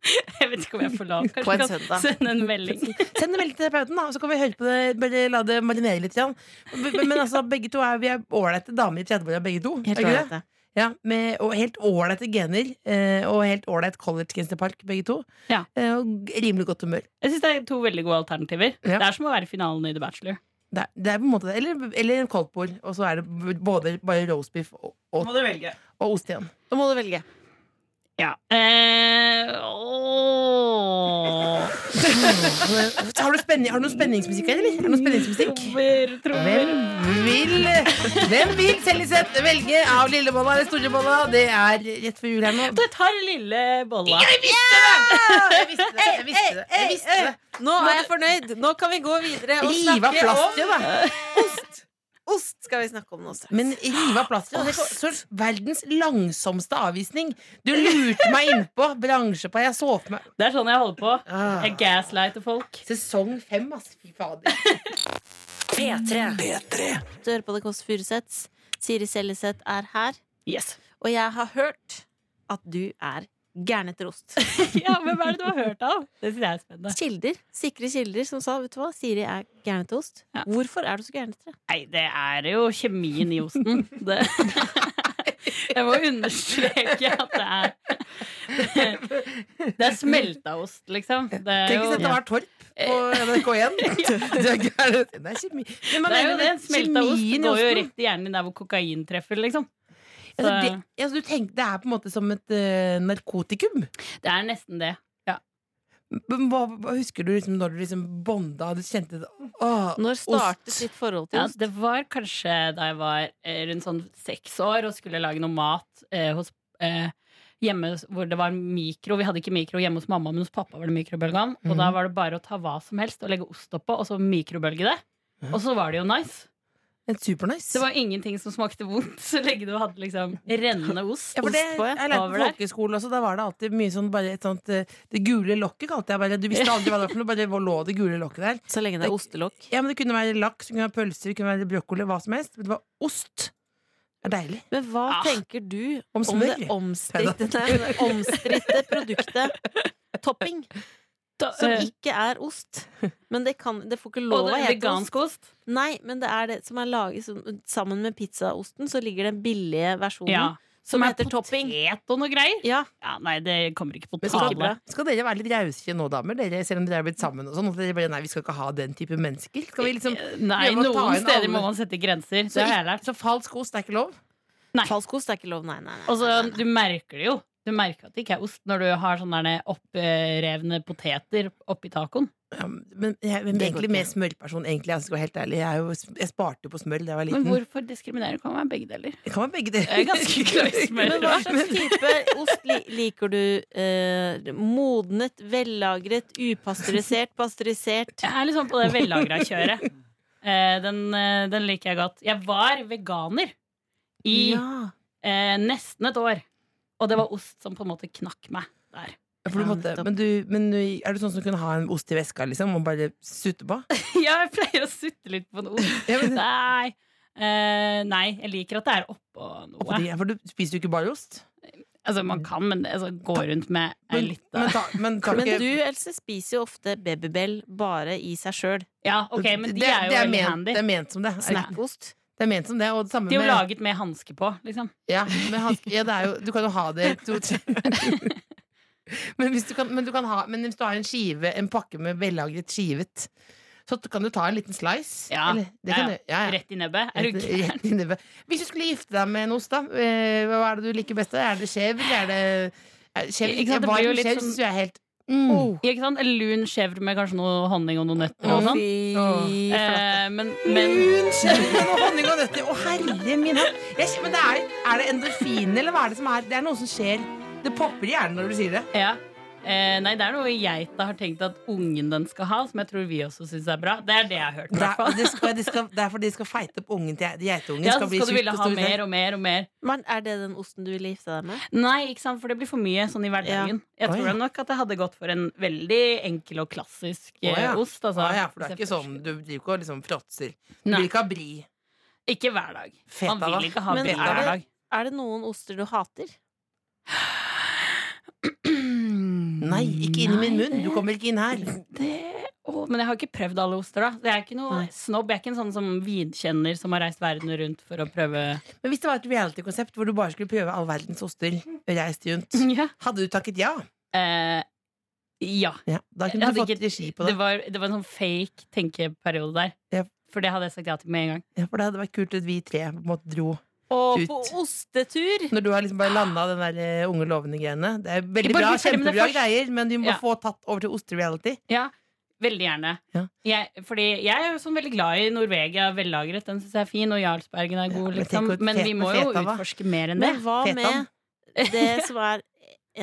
E: [laughs] Jeg vet ikke om jeg får [laughs] lov.
C: På en
E: Kanskje du
C: søndag.
E: kan sende en [laughs] melding.
D: Send en melding til terapeuten, da, og så kan vi høre på det. Bare la det marinere litt. Jan. Men, men altså, begge to er, vi er ålreite damer i 30-åra, begge to.
C: Helt
D: er ikke det?
C: ålreite.
D: Ja, med, og helt ålreite gener. eh, Og helt ålreit collegegenserpark, begge to.
E: Ja.
D: Eh, Og rimelig godt humør.
E: Jeg syns det er to veldig gode alternativer.
D: Ja.
E: Det er som å være i finalen i The Bachelor.
D: Det er, det er på en måte det. Eller, eller en koldtbord, og så er det både bare roastbiff og, og,
E: du velge.
D: og ost igjen.
C: Da må du velge.
E: Ja. Eh, ååå.
D: Har du, spenning, har du noe spenningsmusikk her, eller? Er det noe spenningsmusikk?
E: Trommer, trommer.
D: Hvem vil, hvem vil Seljeseth velge av lillebolla eller storebolla? Det er rett før jul her nå.
E: Jeg tar lille bolla.
D: Jeg visste det! Jeg visste det. Jeg visste det.
C: Nå er jeg fornøyd! Nå kan vi gå videre og
D: Rive av
C: snakke om
D: plasteret, da.
C: ost. Skal vi snakke om nå straks.
D: Men rive av plasteret. Det er så- verdens langsomste avvisning. Du lurte meg innpå bransje på Jeg så for meg
E: Det er sånn jeg holder på.
D: ah,
E: Jeg gaslighter folk.
D: Sesong fem, ass. Fy fader.
F: P3.
B: P3.
C: Du hører på Det Kåss Furuseths. Siri Seljeseth er her.
E: Yes.
C: Og jeg har hørt at du er gæren etter [laughs] ost.
E: Ja, Hvem er det du har hørt av? Det syns jeg er spennende.
C: Kilder, Sikre kilder som sa vet du hva, Siri er gæren etter ost.
E: Ja.
C: Hvorfor er du så gæren etter det?
E: Nei, det er jo kjemien i osten. Det. [laughs] Jeg må understreke at det er Det er smelta ost, liksom. Det er
D: Tenk hvis
E: jo
D: dette var Torp på
E: [laughs]
D: NRK1. Det er gærent. Det er kjemi. Men man
E: det, er jo
D: mener
E: det. Smelta
D: kjemien
E: ost
D: i
E: går jo
D: osten.
E: rett i hjernen din der hvor kokain treffer, liksom.
D: Altså, det, altså, du tenker, det er på en måte som et eh, narkotikum.
E: Det er nesten det.
D: Men Hva, hva husker du liksom, når du liksom bonda og du kjente det? Åh,
C: Når startet
D: ost.
C: ditt forhold til
E: Ja,
C: ost?
E: det var kanskje da jeg var eh, rundt sånn seks år og skulle lage noe mat eh, hos, eh, hjemme hos- hvor det var mikro. Vi hadde ikke mikro hjemme hos mamma, men hos pappa var det mikrobølgeovn.
D: Mhm.
E: Og da var det bare å ta hva som helst og legge ost oppå, og så mikrobølge det. Og så var det jo nice.
D: En supernice.
E: Det var ingenting som smakte vondt så lenge du hadde liksom rennende ost.
D: ja, for det,
C: ost på, ja.
D: jeg lærte
E: Over
D: på
E: der.
D: folkeskolen også. Da var det alltid mye sånn bare et sånt eh, Det gule lokket kalte jeg bare. Du visste aldri hva det var for noe, bare hvor lå det gule lokket der.
C: Så lenge det er ostelokk.
D: Ja, men Det kunne være laks, det kunne være pølser, det kunne være brokkoli, hva som helst. Men det var ost. Det er deilig.
C: Men hva
E: Ah.
C: tenker du
D: Om
C: om,
D: smør?
C: det omstridte, nei, det omstridte produktet [laughs] topping,
E: Da-
C: som
E: eh,
C: ikke er ost?
E: [laughs]
C: Men det, kan, det får ikke
E: og
C: lov
E: det
C: å
E: er
C: hete ost.
E: vegansk ost.
C: Nei, men det er det som er laget som- sammen med pizzaosten, så ligger den billige
D: Mhm.
C: versjonen.
E: Ja.
C: Som
E: er
C: heter topping.
E: Potet og noe greier.
C: Ja,
E: Ja, nei, det kommer ikke på
D: Men
C: Ikke
E: tale.
C: bra.
D: skal, skal dere være litt rause nå, damer? Dere, selv om dere er blitt sammen og sånn. At dere bare nei, vi skal ikke ha den type mennesker. Skal vi liksom
E: Eh, Nei,
D: Prøve å ta
E: noen
D: inn
E: steder
D: alle.
E: må man sette grenser.
D: Så,
E: Det har jeg lært.
D: så falsk ost er ikke lov?
E: Nei.
C: falsk ost er ikke lov. Nei, nei, nei.
E: Og så,
C: nei, nei.
E: Altså, du merker det jo. Du merker at det ikke er ost når du har sånne der opprevne poteter oppi tacoen.
D: Ja, Um, men jeg er
C: går
D: egentlig
C: ikke.
D: mer smørperson, egentlig. Jeg skal være helt ærlig. Jeg, er jo, jeg sparte jo på smør da jeg var
E: Men
D: liten.
E: hvorfor diskriminere? Det Kan være begge deler.
D: Det kan være begge deler.
E: Jeg er ganske
D: [laughs]
E: glad i smør.
C: Men hva slags type ost li liker du? Eh, modnet, vellagret, upasteurisert, pasteurisert?
E: Jeg er liksom på det vellagra [laughs] kjøret. Eh, den, eh, den liker jeg godt. Jeg var veganer i
C: Ja.
E: eh, nesten et år. Og det var ost som på en måte knakk meg [laughs] der.
D: For du måtte, men, du, men du, er du sånn som kunne ha en ost i veska liksom, og bare sutte på?
E: Ja, jeg pleier å sutte litt på en ost.
D: Ja, men,
E: Nei. Eh, nei, jeg liker at det er oppå noe.
D: fordi, for du spiser jo ikke bare ost.
E: Altså, man kan, men det- altså, gå rundt med ei
D: Men,
E: lita
D: men, ta,
E: [laughs]
D: men, tar
C: Men
D: ikke-
C: du, Else, spiser jo ofte babybel bare i seg sjøl.
E: Ja, ok, men de
D: det,
E: er jo
D: det er
E: veldig
D: ment,
E: handy.
D: Det er ment som det. Er-
C: Snackost.
D: Det er ment som det, og det samme
E: De er jo
D: med
E: laget med hanske på, liksom.
D: Ja, men han, ja, det er jo Du kan jo ha det to,
E: [laughs]
D: tre. Men hvis, du kan, men, du kan ha, men hvis du har en skive En pakke med vellagret skivet Så kan du ta en liten slice
E: Ja,
D: eller, det kan du- ja, ja.
E: Rett i nebbet. Er du
D: Rett-
E: gæren?
D: rett i [laughs] nebbet. Hvis du skulle gifte deg med en ost da eh, Hva er det du liker best da? Er det skjev eller er det er det skjev?
E: Ikke sant, det blir jo
D: Varm
E: litt
D: skjev
E: sånn-
D: synes jeg er helt mm.
E: Ikke sant? En lun chèvre med kanskje noe honning og noen nøtter
C: Å,
E: og sånn.
C: fy
D: Åh.
C: flate.
E: Eh, men, men
D: Lun skjev med noe honning og nøtter Å herre min hatt. Jeg kjenner- Men det er, er det endorfin eller hva er det som er Det er noe som skjer Det popper i hjernen når du sier det
E: ja. Eh, nei, det er noe geita har tenkt at ungen den skal ha, som jeg tror vi også syns er bra. Det er det jeg har hørt. i
D: Det
E: hvert fall.
D: er, det, skal, det, skal, det er fordi de skal feite opp ungen til geitungen.
E: Ja,
D: skal
E: så
D: bli
E: skal du
D: tjukk
E: ville
D: og
E: ha
D: stor.
E: mer og mer og mer.
C: Men er det den osten du ville gifte deg med?
E: Nei, ikke sant, for det blir for mye sånn i hverdagen. Jeg
D: Å,
E: tror
D: ja.
E: nok at jeg hadde gått for en veldig enkel og klassisk eh,
D: Å, ja.
E: ost. Altså.
D: Ja, ja, for det er ikke
E: Hvis jeg
D: sånn Du driver ikke og liksom fråtser. Du
E: Nei.
D: vil ikke ha bri.
E: Ikke hver dag.
D: Feta,
E: Man
D: da.
E: vil ikke ha
C: Men
E: bil
D: er
E: hver
D: det-
E: dag.
C: Er det noen oster du hater?
D: [clears throat] Nei, ikke inn i min munn! Du kommer ikke inn her.
E: Det, å, men jeg har ikke prøvd alle oster, da. Jeg er ikke noe
D: Nei.
E: snobb. Jeg er ikke en sånn som vinkjenner som har reist verden rundt for å prøve
D: Men hvis det var et reality-konsept hvor du bare skulle prøve all verdens oster, reist rundt,
E: Ja.
D: hadde du takket [laughs] ja?
E: Eh, ja.
D: ja da
E: Jeg
D: kunne du
E: hadde
D: fått
E: ikke-
D: regi på
E: Det
D: det.
E: var, det var en sånn fake tenkeperiode der.
D: Ja.
E: For det hadde jeg sagt ja til med en gang.
D: Ja, for det hadde vært kult at vi tre på en måte dro.
C: Og
D: Ut.
C: på ostetur!
D: Når du har liksom bare landa den der eh, unge lovende greiene. Det er veldig
E: Bare
D: bra,
E: bli ferdig med det
D: kjempebra
E: først.
D: greier, men vi må
E: Ja.
D: få tatt over til oster-reality.
E: Ja, Veldig gjerne.
D: Ja.
E: Jeg, fordi jeg er jo sånn veldig glad i Norvegia vellagret. Den syns jeg er fin, og Jarlsbergen er god,
D: men
E: liksom.
D: tenk hvor
E: Men
D: fet
E: vi
D: med
E: må jo
D: feta, hva?
E: utforske mer enn det.
C: Men hva med
D: Fetaen.
C: det som er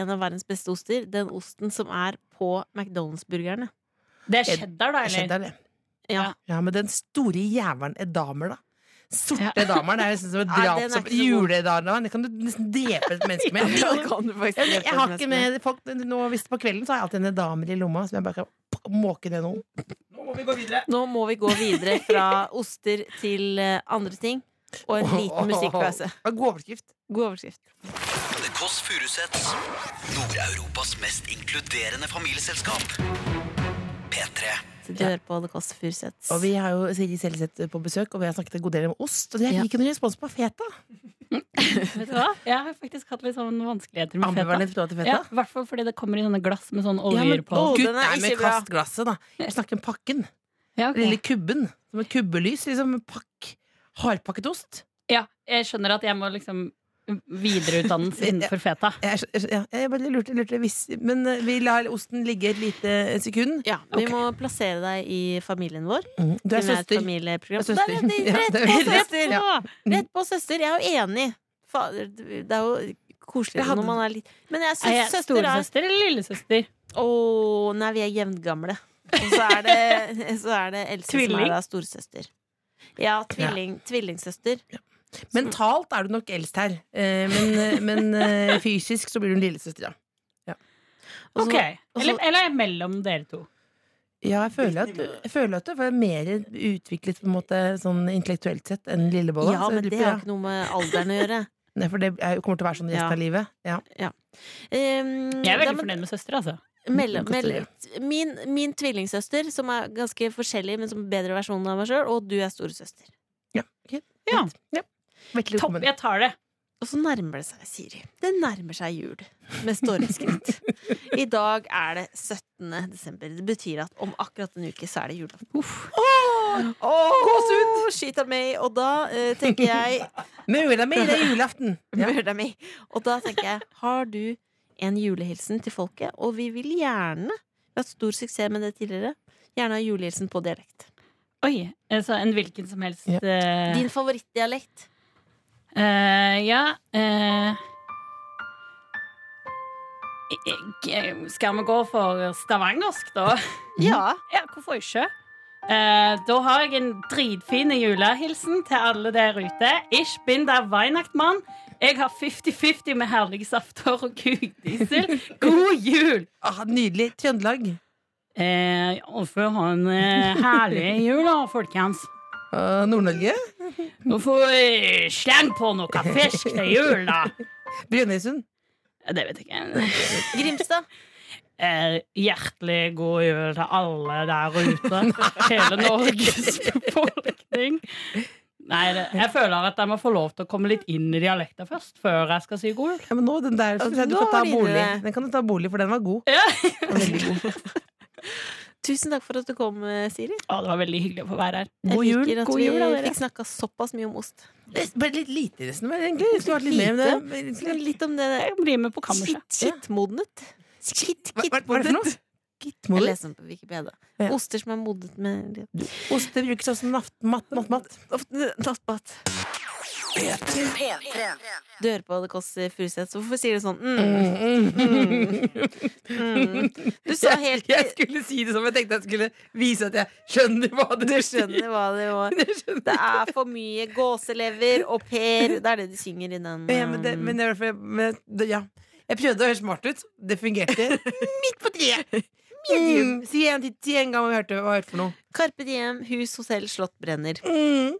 C: en av verdens beste oster? Den osten som er på
D: [laughs]
C: McDonald's-burgerne.
E: Det er cheddar, da, eller?
D: Skjedde det?
C: Ja.
D: Ja, men den store jævelen edamer, da. Sorte
E: Ja.
D: edamer. Det er nesten som
C: [laughs]
D: et
C: Nei, den er
D: drap som
C: ikke så god.
D: juleedamer. Det kan du nesten drepe et menneske
C: [laughs]
D: med. Jeg, jeg har ikke med folk nå, Hvis på kvelden så har jeg alltid en edamer i lomma som jeg bare kan måke ned noen.
G: må vi gå videre.
C: Nå må vi gå videre fra oster til eh, andre ting. Og en
D: [laughs]
C: liten musikkpause.
G: God overskrift.
C: God overskrift.
B: The Kåss Furuseths. Nord-Europas mest inkluderende familieselskap. P3.
C: Så du hører på The Kåss Furuseths.
D: Og vi har jo Siri Seljeseth på besøk, og vi har snakket en god del om ost. Og det er
C: Ja.
D: ikke noen respons på feta.
E: Vet du hva? Jeg har faktisk hatt litt sånn vanskeligheter med feta.
D: Ambivalent forhold til feta.
E: Ja, I hvert fall fordi det kommer i sånne glass med sånn
D: Ja,
E: oljer
D: men,
E: på.
D: å,
C: den er
D: gutt, nei, men
C: ikke bra.
D: kast glasset, da. Ikke snakk om pakken.
E: Ja, ok.
D: Den Lille kubben. Som et kubbelys. Liksom en pakk hardpakket ost.
E: ja, jeg skjønner at jeg må liksom videreutdannes innenfor feta.
D: Jeg, skj- jeg, skj- ja, jeg bare lurte, lurte hvis, Men eh, vi lar osten ligge et lite sekund.
C: Ja, vi må plassere deg i familien vår.
D: Mm. Du er
C: Siden det et
D: søster.
C: familieprogram.
D: Du er søster.
C: Da er det
D: Ja,
C: Rett
D: det
C: på
D: er veldig-
C: søster!
D: ja.
C: Rett på søster. Jeg er jo enig. Fader, det er jo
D: Jeg
C: koselig
D: hadde-
C: når man er litt Men jeg
E: Er
C: syns
E: jeg
C: søster er
E: storesøster eller lillesøster?
C: Å, nei, vi er jevngamle. Og så er det, [laughs] så er det Else som
E: Tvilling?
C: er da storesøster. Ja, tvilling, tvillingsøster.
D: Mentalt er du nok eldst her, eh, men, eh, men eh, fysisk så blir du en lillesøster, ja.
C: Og så-
E: Ok,
C: og så-
E: Eller, eller er jeg mellom dere to?
D: Ja, jeg føler at, jeg føler at du var mer utviklet på en måte sånn intellektuelt sett enn lillebolla.
C: Ja,
D: så jeg
C: men
D: lurer
C: det
D: på-
C: har ikke noe med alderen å
E: [laughs]
C: gjøre.
D: Nei, for det er- kommer til å være sånn resten
C: Ja.
D: av livet. Ja.
C: Um,
E: Jeg
C: da,
E: er veldig
C: men-
E: fornøyd med søster, altså.
C: Mellom,
D: Godt å
C: mellom, min, min tvillingsøster, som er ganske forskjellig, men som er bedre versjonen av meg sjøl, og du er storesøster.
E: Ja.
D: Vettelig
E: Topp,
D: velkommen.
E: jeg tar det.
C: Og så nærmer det seg, Siri. Det nærmer seg jul med stormskritt.
E: [laughs]
C: I dag er det 17. desember. Det betyr at om akkurat en uke så er det julaften. Gåsehud! Skyt av meg. Og da eh, tenker jeg
D: Mura mi, det er julaften! [laughs] Ja.
C: Mør deg meg. Og da tenker jeg, har du en julehilsen til folket? Og vi vil gjerne, vi har hatt stor suksess med det tidligere, gjerne ha julehilsen på dialekt.
E: Oi, altså en hvilken som helst
D: Ja.
E: eh,
C: Din favorittdialekt.
E: Eh, ja eh. Jeg- Skal vi gå for stavangersk, da?
D: Mhm.
C: Ja.
E: Ja, hvorfor ikke? Eh, da har jeg en dritfin julehilsen til alle der ute. Ich bin der Weihnachtmann. Jeg har 50-50 med herligsafter og kukdiesel. God jul!
D: Ah, nydelig. Trøndelag.
E: Eh, og for å ha en eh, herlig jul, da, folkens.
D: Ah, Nord-Norge.
E: Og få eh, sleng på noe fisk til jul, da.
D: Brønnøysund.
E: Eh, Det vet jeg ikke.
C: Grimstad.
E: Eh, hjertelig god jul til alle der ute. [laughs] Hele Norges befolkning. Nei, det, jeg føler at jeg må få lov til å komme litt inn i dialekten først, før jeg skal si god jul.
D: Ja, men Altså, nå, den der synes jeg du
C: Nå
D: kan ta
C: var det inne
D: bolig.
C: det.
D: Den kan du ta bolig, for den var god.
E: Ja.
C: Tusen takk for at du kom, eh, Siri.
E: Å, det var veldig hyggelig å få være her.
D: God
C: Jeg
D: jul.
C: liker at
D: God
C: vi
D: jul, da, dere.
C: fikk snakka såpass mye om ost.
D: [laughs] Det er Bare litt lite resonnement, egentlig. Det Skulle vært litt mer, men det det skulle-
C: Litt om det
E: Jeg blir med på kammerset.
C: Skitt- skittmodnet. Skitt,
D: Hva hva- hva er det for noe?
C: kittmodnet. Jeg
D: Gittmoder.
C: leser den på Wikipedia.
D: Ja.
C: Oster som er modnet med
D: Oste brukes også som nattmat. nattmat.
C: nattmat.
H: P3.
C: Du hører på Det Kåss Furuseth, så hvorfor sier du sånn? Mm,
D: Mm, mm.
C: mm. Du sa helt
D: Jeg skulle si det som jeg tenkte jeg skulle vise at jeg skjønner hva det
C: Du
D: [laughs]
C: skjønner hva det var. Det er for mye gåselever og per. Det er det de synger i den. um,
D: Ja, men det, men det er derfor jeg, men, det, ja. jeg prøvde å høre smart ut. Det fungerte. [laughs] Midt på treet! Mm. Si en, til- si en gang hva vi hørte hva jeg hørte for noe.
C: Carpe Diem, hus, hotell, slott brenner.
D: Mm.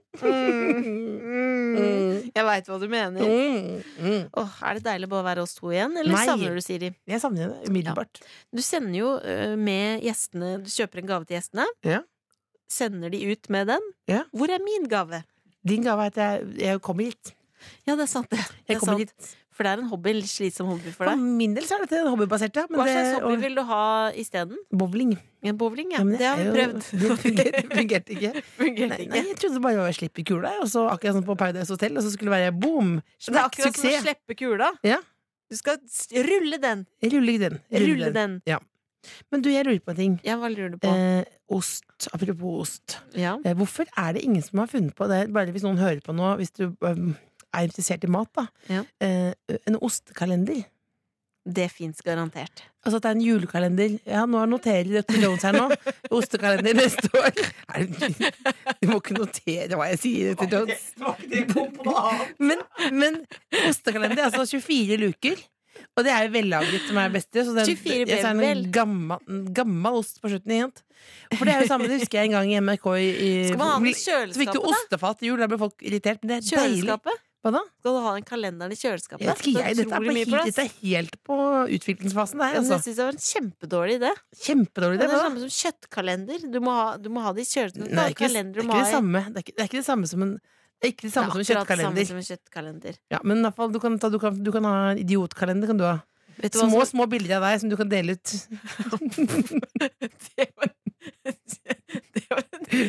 C: Jeg veit hva du mener.
D: Mm. Mm.
C: Åh, er det deilig bare å være oss to igjen, eller
D: Nei.
C: savner du Siri?
D: Jeg savner det umiddelbart.
C: Du sender jo ø, med gjestene Du kjøper en gave til gjestene.
D: Ja.
C: Sender de ut med den.
D: Ja.
C: Hvor er min gave?
D: Din gave er at jeg, jeg kommer hit.
C: Ja, det er sant, det. det
D: Jeg
C: er
D: kommer
C: sant.
D: hit.
C: For det er en hobby, en slitsom hobby for
D: For
C: deg.
D: min del så er dette en hobbybasert, ja. men
C: Hva slags
D: det-
C: hobby
D: og-
C: vil du ha isteden?
D: Bowling.
C: Ja, bowling, ja.
D: Ja, men
C: det har vi
D: er jo-
C: prøvd.
D: [laughs] Det
C: [laughs]
D: fungerte, fungerte ikke.
C: Fungerte
D: Nei,
C: ikke.
D: nei, jeg trodde bare det var å slippe kula, jeg, og så akkurat som på Paradise Hotel, og så skulle det være boom!
C: Det er
D: Smack,
C: akkurat som å
D: suksess!
C: slippe kula.
D: Ja.
C: Du skal s- rulle den.
D: Jeg ruller ikke den. Jeg ruller
C: Rulle
D: den.
C: den.
D: Men du, jeg lurer på en ting.
C: Ja, hva lurer du på?
D: Eh, ost. Apropos ost.
C: Ja.
D: Eh, hvorfor er det ingen som har funnet på det, bare hvis noen hører på nå, hvis du eh, er interessert i mat, da,
C: Ja.
D: eh, en ostekalender?
C: Det fins garantert.
D: Altså at det er en julekalender. Ja, nå noterer Dr. Jones her nå. Ostekalender neste år. Er det, du må ikke notere hva jeg sier, Dr. Jones. Men, men ostekalender, altså 24 luker. Og det er jo vellaget som er det beste. Så den,
C: 24
D: jeg sa en
C: Bevel.
D: gammel, en gammel ost på slutten. Igjen. For det er jo samme, det husker jeg en gang i MRK i, i
C: Skal man ha den i
D: Eh, Så fikk du
C: kjøleskapet, da?
D: ostefat i jul, da ble folk irritert. Men det er deilig.
C: Kjøleskapet?
D: Hva da?
C: Skal du ha en kalender i kjøleskapet?
D: Jeg vet
C: Det
D: ikke,
C: er
D: jeg, dette, er
C: utrolig
D: på,
C: mye
D: helt-
C: plass.
D: dette er helt på utviklingsfasen. Det, her,
C: Men jeg
D: altså.
C: synes det var en kjempedårlig idé.
D: Kjempedårlig
C: Det er
D: idé.
C: det
D: hva da?
C: samme som kjøttkalender. Du må ha, du må ha det i kjøleskapet. Du må ha
D: Nei, det er ikke,
C: kalender
D: det, er
C: du må
D: ikke det,
C: ha i-
D: samme. Det, er ikke, det er ikke det samme som en det er ikke det samme som en
C: Det er akkurat samme
D: kjøttkalender.
C: som en kjøttkalender.
D: Ja, men i hvert fall, du, kan ta, du, kan, du kan ha en idiotkalender. Kan du ha.
C: Vet du hva
D: Små
C: som-
D: små bilder av deg som du kan dele
I: [laughs]
D: ut.
I: Det var, det var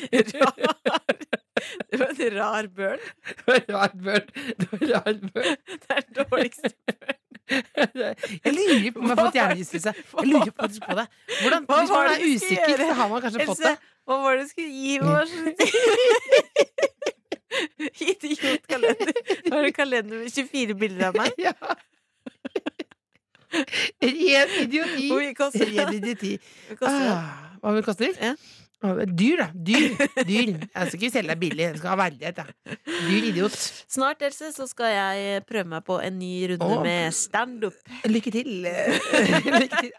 I: en rar Det var en rar børn.
D: Rart børn. Rart børn.
I: Det er den dårligste
D: Jeg lurer på om jeg har fått hjernerystelse. Jeg lurer faktisk på det. Hvordan,
I: Hva
D: hvis
I: var det
D: man
I: vi
D: er
I: skulle
D: usikker,
I: gjøre?
D: så har man kanskje fått det.
I: Else, hva var det du skulle gi oss? [laughs] Idiotkalender. Har du en kalender med 24 bilder av meg?
D: Ja. Ren idioti.
I: Hvor mye koster det?
D: Ren idioti.
I: Hva koster det?
D: Ah, Hva vil det koste?
I: Ja.
D: Ah, det er Dyr, da. Dyr. dyr. Jeg skal ikke selge deg billig. Jeg skal ha verdighet. Jeg. Dyr idiot.
C: Snart, Else, så skal jeg eh, prøve meg på en ny runde
D: Å.
C: med standup. [laughs]
D: Lykke [laughs] til. Lykke til.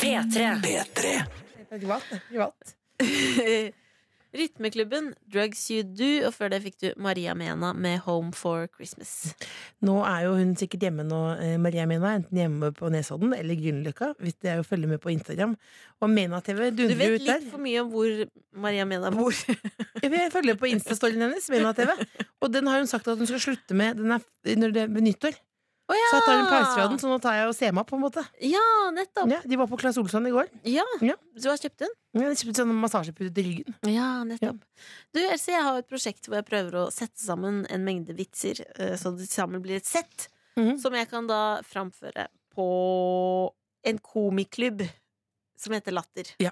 I: P3.
D: Privat. Privat.
C: Rytmeklubben Drugs You Do, og før det fikk du Maria Mena med Home for Christmas.
D: Nå er jo hun sikkert hjemme nå, eh, Maria Mena. Enten hjemme på Nesodden eller Grünerløkka. Hvis det er å følge med på Instagram. Og Mena TV
C: Du
D: dundrer jo
C: vet
D: ut der.
C: litt for mye om hvor Maria Mena [laughs] bor.
D: Jeg følger på Insta-storyen hennes, Mena TV. Og den har hun sagt at hun skal slutte med den er, når det er nyttår.
C: Å
D: Så jeg tar en pause fra den, så nå tar jeg og ser meg opp, på en måte.
C: Ja, Ah, nettopp.
D: Ja, de var på Claes Olsson i går.
C: Ja.
D: Ja.
C: Du har kjøpt den?
D: Ja, De kjøpte sånne massasjepute til ryggen.
C: Ja, nettopp. Du, Else, jeg har et prosjekt hvor jeg prøver å sette sammen en mengde vitser, eh, så det sammen blir et sett,
D: Mhm.
C: som jeg kan da framføre på en komiklubb som heter Latter.
D: Ja.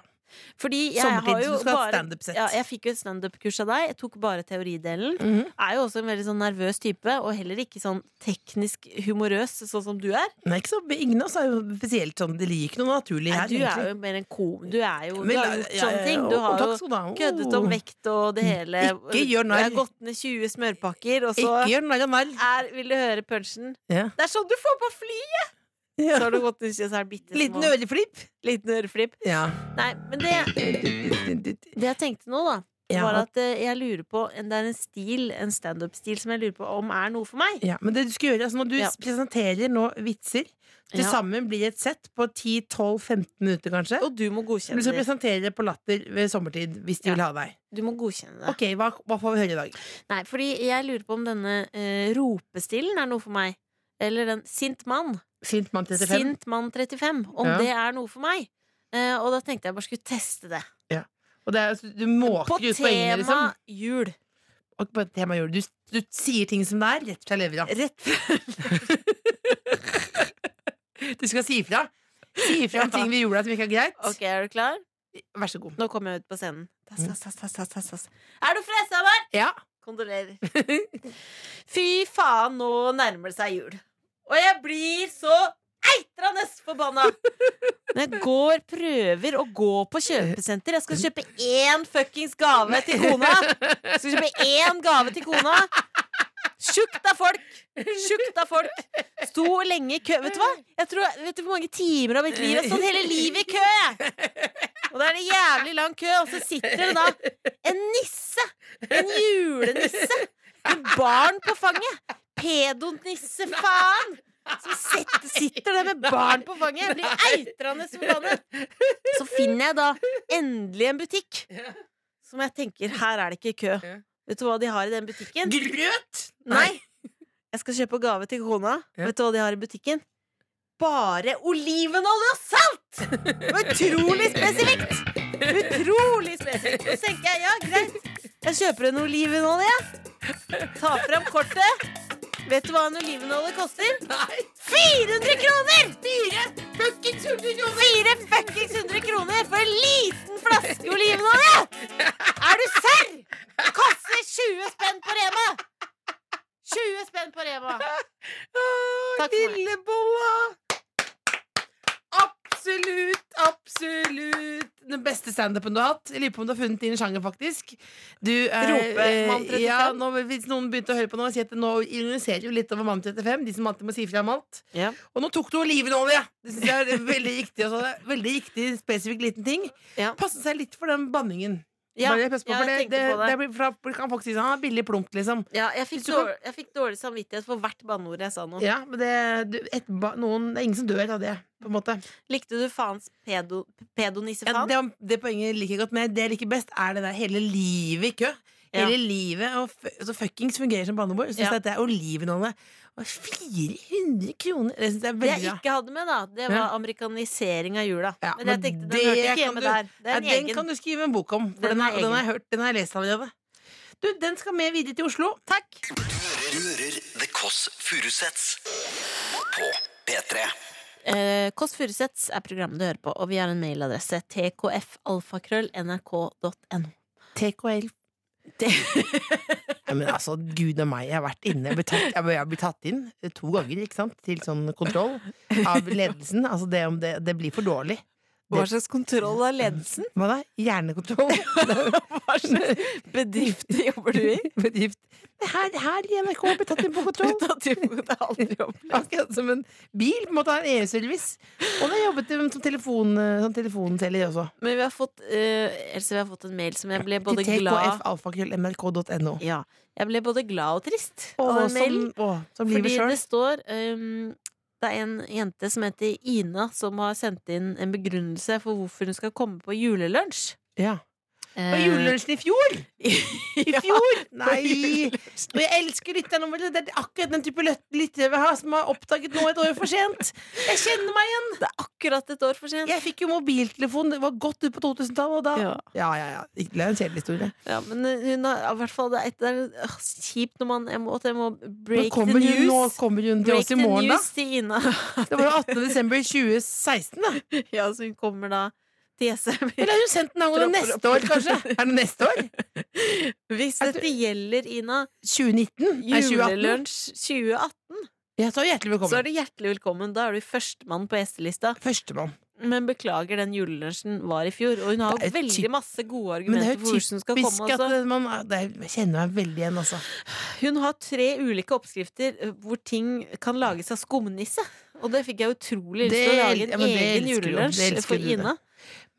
C: Fordi jeg har
D: Sommertid.
C: jo
D: så Du skal ha et
C: bare
D: standup-sett.
C: ja, Jeg fikk jo et standup-kurs av deg. Jeg tok bare teoridelen.
D: Mhm.
C: Er jo også en veldig sånn nervøs type, og heller ikke sånn teknisk humorøs, sånn som du er.
D: Nei, ikke så, ingen av oss er jo spesielt sånn Det ligger ikke noe naturlig
C: Nei,
D: her,
C: du er
D: egentlig.
C: jo mer en kom... Du er jo
D: Men
C: Du har
D: la-
C: gjort
D: ja,
C: sånne ting.
D: og-
C: Du
D: og
C: har
D: takk
C: jo
D: skal du ha.
C: køddet om vekt og det hele.
D: Oh. Mm. Ikke gjør narr.
C: Jeg har gått ned 20 smørpakker, og så
D: Ikke gjør narr av narr.
C: er Vil du høre punchen?
D: Ja.
C: Det er sånn du får på flyet! Så har du gått ned 20 så er det bittesmå-
D: [laughs] Liten øreflipp.
C: liten øreflipp.
D: Ja.
C: Nei, men det, det jeg tenkte nå, da,
D: Ja.
C: var at eh, jeg lurer på en, Det er en stil, en standup-stil, som jeg lurer på om er noe for meg.
D: ja. Men det du skal gjøre, altså når du
C: Ja.
D: presenterer nå vitser Til
C: Ja.
D: sammen blir et sett på 10-12-15 minutter, kanskje.
C: Og du må
D: Du
C: godkjenne
D: skal
C: det.
D: presentere det på Latter ved sommertid, hvis de
C: Ja.
D: vil ha deg.
C: Du må godkjenne det.
D: Ok, hva, hva får vi høre i dag?
C: Nei, fordi jeg lurer på om denne eh, ropestilen er noe for meg. Eller den sint mann.
D: Sint mann 35?
C: Sint mann 35. Om
D: Ja.
C: det er noe for meg. Eh, og da tenkte jeg bare skulle teste det.
D: Og det er, altså- du
C: På
D: måker ut
C: tema
D: poengene, liksom.
C: jul.
D: Og på tema gjør du, du sier ting som det er, rett fra levra.
C: Rett
D: Du skal si ifra. Si ifra [laughs] om ting ved jula som ikke er greit.
C: Ok, er du klar?
D: Vær så god.
C: Nå kommer jeg ut på scenen. Tass, tass, tass, tass, tass, tass, tass. Er du fresa, Mar?
D: Ja.
C: [laughs] Kondolerer. Fy faen, nå nærmer det seg jul. Og jeg blir så eitrende forbanna! Når jeg går, prøver å gå på kjøpesenter Jeg skal kjøpe én fuckings gave til kona! Jeg skal kjøpe én gave til kona! Tjukt av folk! Tjukt av folk! Sto lenge i kø. Vet du hva? Jeg tror, vet du hvor mange timer av mitt liv jeg har stått hele livet i kø, jeg! Og da er det jævlig lang kø, og så sitter det da en nisse! En julenisse! Med barn på fanget! Pedonisse, faen! Som setter, sitter der med barn på fanget! Jeg blir eitrende forbannet! Så finner jeg da endelig en butikk som jeg tenker her er det ikke kø. Vet du hva de har i den butikken?
D: Grøt!
C: Nei! Jeg skal kjøpe gave til kona.
D: Ja.
C: Vet du hva de har i butikken? Bare olivenolje og salt! Utrolig spesifikt! Utrolig spesifikt. Så tenker jeg ja, greit. Jeg kjøper en olivenolje. Tar fram kortet. Vet du hva en olivenolje koster? 400 kroner! Fire fuckings 100 kroner! Fire fuckings 100 kroner for en liten flaske olivenolje! Er du serr? Det koster 20 spenn på Rema! 20 spenn på Rema. Takk for meg.
D: Lillebolla! Absolutt, absolutt den beste standupen du har hatt. Jeg lurer på om du har funnet din sjanger, faktisk. Du, eh,
F: Ropemann 35.
D: ja, nå, hvis noen begynte å høre på nå, si at nå ironiserer jo litt over Mann 35. De som alltid må si fra om alt.
F: Ja.
D: Og nå tok du olivenolje! Det synes jeg er veldig riktig. og så er det Veldig riktig, spesifikk liten ting.
F: Ja.
D: Passe seg litt for den banningen.
F: Ja,
D: Bare pass på,
F: ja,
D: for det,
F: jeg tenkte
D: det,
F: på det.
D: det blir, for da kan folk si sånn ah, billig plump, liksom.
F: Ja, jeg fikk,
D: Hvis du kan-
F: dårlig, jeg fikk dårlig samvittighet for hvert banneord jeg sa nå.
D: Ja, men det, du, et, ba- noen, det er ingen som dør av det, på en måte.
F: Likte du faens pedo,
D: Ja,
F: pedonissefan?
D: det, det poenget liker jeg godt, men det jeg liker best, er det der hele livet i kø.
F: Ja.
D: Hele livet og f altså, fuckings fungerer som banneord. Syns
F: Ja.
D: jeg at det er olivenolje. Og 400 kroner! Det syns jeg er
F: Det
D: veldig
F: jeg
D: bra.
F: ikke hadde med, da, det var
D: Ja.
F: amerikanisering av jula.
D: Ja,
F: men jeg
D: men
F: tenkte,
D: det
F: den hørte
D: kan
F: ikke hjemme
D: du-
F: der. Det er en
D: ja, den
F: egen.
D: kan du skrive en bok om, for
F: Den
D: den,
F: er
D: er, den
F: egen.
D: har jeg hørt, den har jeg lest allerede. Du, den skal med videre til Oslo. Takk!
B: Du hører, du hører The Kåss Furuseths på P3.
C: Eh, Kåss Furuseths er programmet du hører på, og vi har en mailadresse tkfalfakrøll.nrk.no.
D: TKL. ja, men altså, gud a meg, jeg har vært inne. Jeg blir tatt, jeg ble- jeg blir tatt inn eh, to ganger ikke sant? til sånn kontroll av ledelsen. Altså, det, om det, det blir for dårlig.
F: Hva slags kontroll av ledelsen?
D: Hva da? Hjernekontroll?
F: Hva slags bedrift jobber du i?
D: [laughs] Bedrift. Her, her i NRK blir tatt inn på kontroll.
F: Ut av typen, det har jeg aldri opplevd.
D: Akkurat som en bil, på en måte, har en EU-service. Og da jobbet de som, telefon, som telefonselger også.
C: Men vi har fått, eh, Else, vi har fått en mail som jeg ble både
D: Til
C: glad
D: tkfalfakrøllmrk.no.
C: ja, Jeg ble både glad og trist
D: Å,
C: av den
D: som,
C: mailen.
D: å, som
C: Fordi
D: livet sjøl.
C: det står ehm, Det er en jente som heter Ina, som har sendt inn en begrunnelse for hvorfor hun skal komme på julelunsj.
D: Ja.
C: Eh,
D: På julelunsjen i
C: [laughs]
D: fjor! I fjor! Nei! Og jeg elsker lytterne våre. Det er akkurat den type løt- lyttere vi har, som har oppdaget nå et år for sent.
C: Eh,
D: Jeg kjenner meg igjen!
C: Det er akkurat et år for sent.
D: Jeg fikk jo mobiltelefon, det var godt ut på 2000-tallet, og da
C: Ja.
D: Ja, ja, ja. Det er en kjedelig historie.
C: Ja, men eh, hun har i hvert fall Det er, det er øh, kjipt når man jeg må, at jeg må
D: Nå
C: break the
D: kommer hun, nå
C: news.
D: kommer hun til
C: Break
D: oss
C: the
D: i morgen, da.
C: news til Ina. [laughs]
D: Det var jo 18. desember 2016, da.
C: Ja, så hun kommer da til SM.
D: Eller har hun sendt den angående
F: Tropper
D: neste år, kanskje? Er det neste år?
C: [laughs] Hvis
D: Er du-
C: dette gjelder Ina,
D: 2019? Nei, 2018?
C: julelunsj 2018,
D: Ja, så
C: så
D: hjertelig velkommen.
C: er du hjertelig velkommen. Da er du førstemann på gjestelista.
D: Førstemann.
C: Men beklager, den julelunsjen var i fjor. Og hun har
D: Det
C: jo
D: er
C: veldig
D: typ-
C: masse gode
D: Men det
C: argumenter
D: er
C: for
D: jo
C: hvordan hun skal
D: typisk
C: komme.
D: at
C: Altså.
D: man det er- Jeg kjenner meg veldig igjen, altså.
C: Hun har tre ulike oppskrifter eh, hvor ting kan lages av skumnisse. Og det fikk jeg utrolig lyst til å
D: Det
C: lage
D: el- ja,
C: en
D: men det
C: egen
D: elsker du. Det
C: julelunsj
D: elsker
C: for
D: du, det.
C: Ina.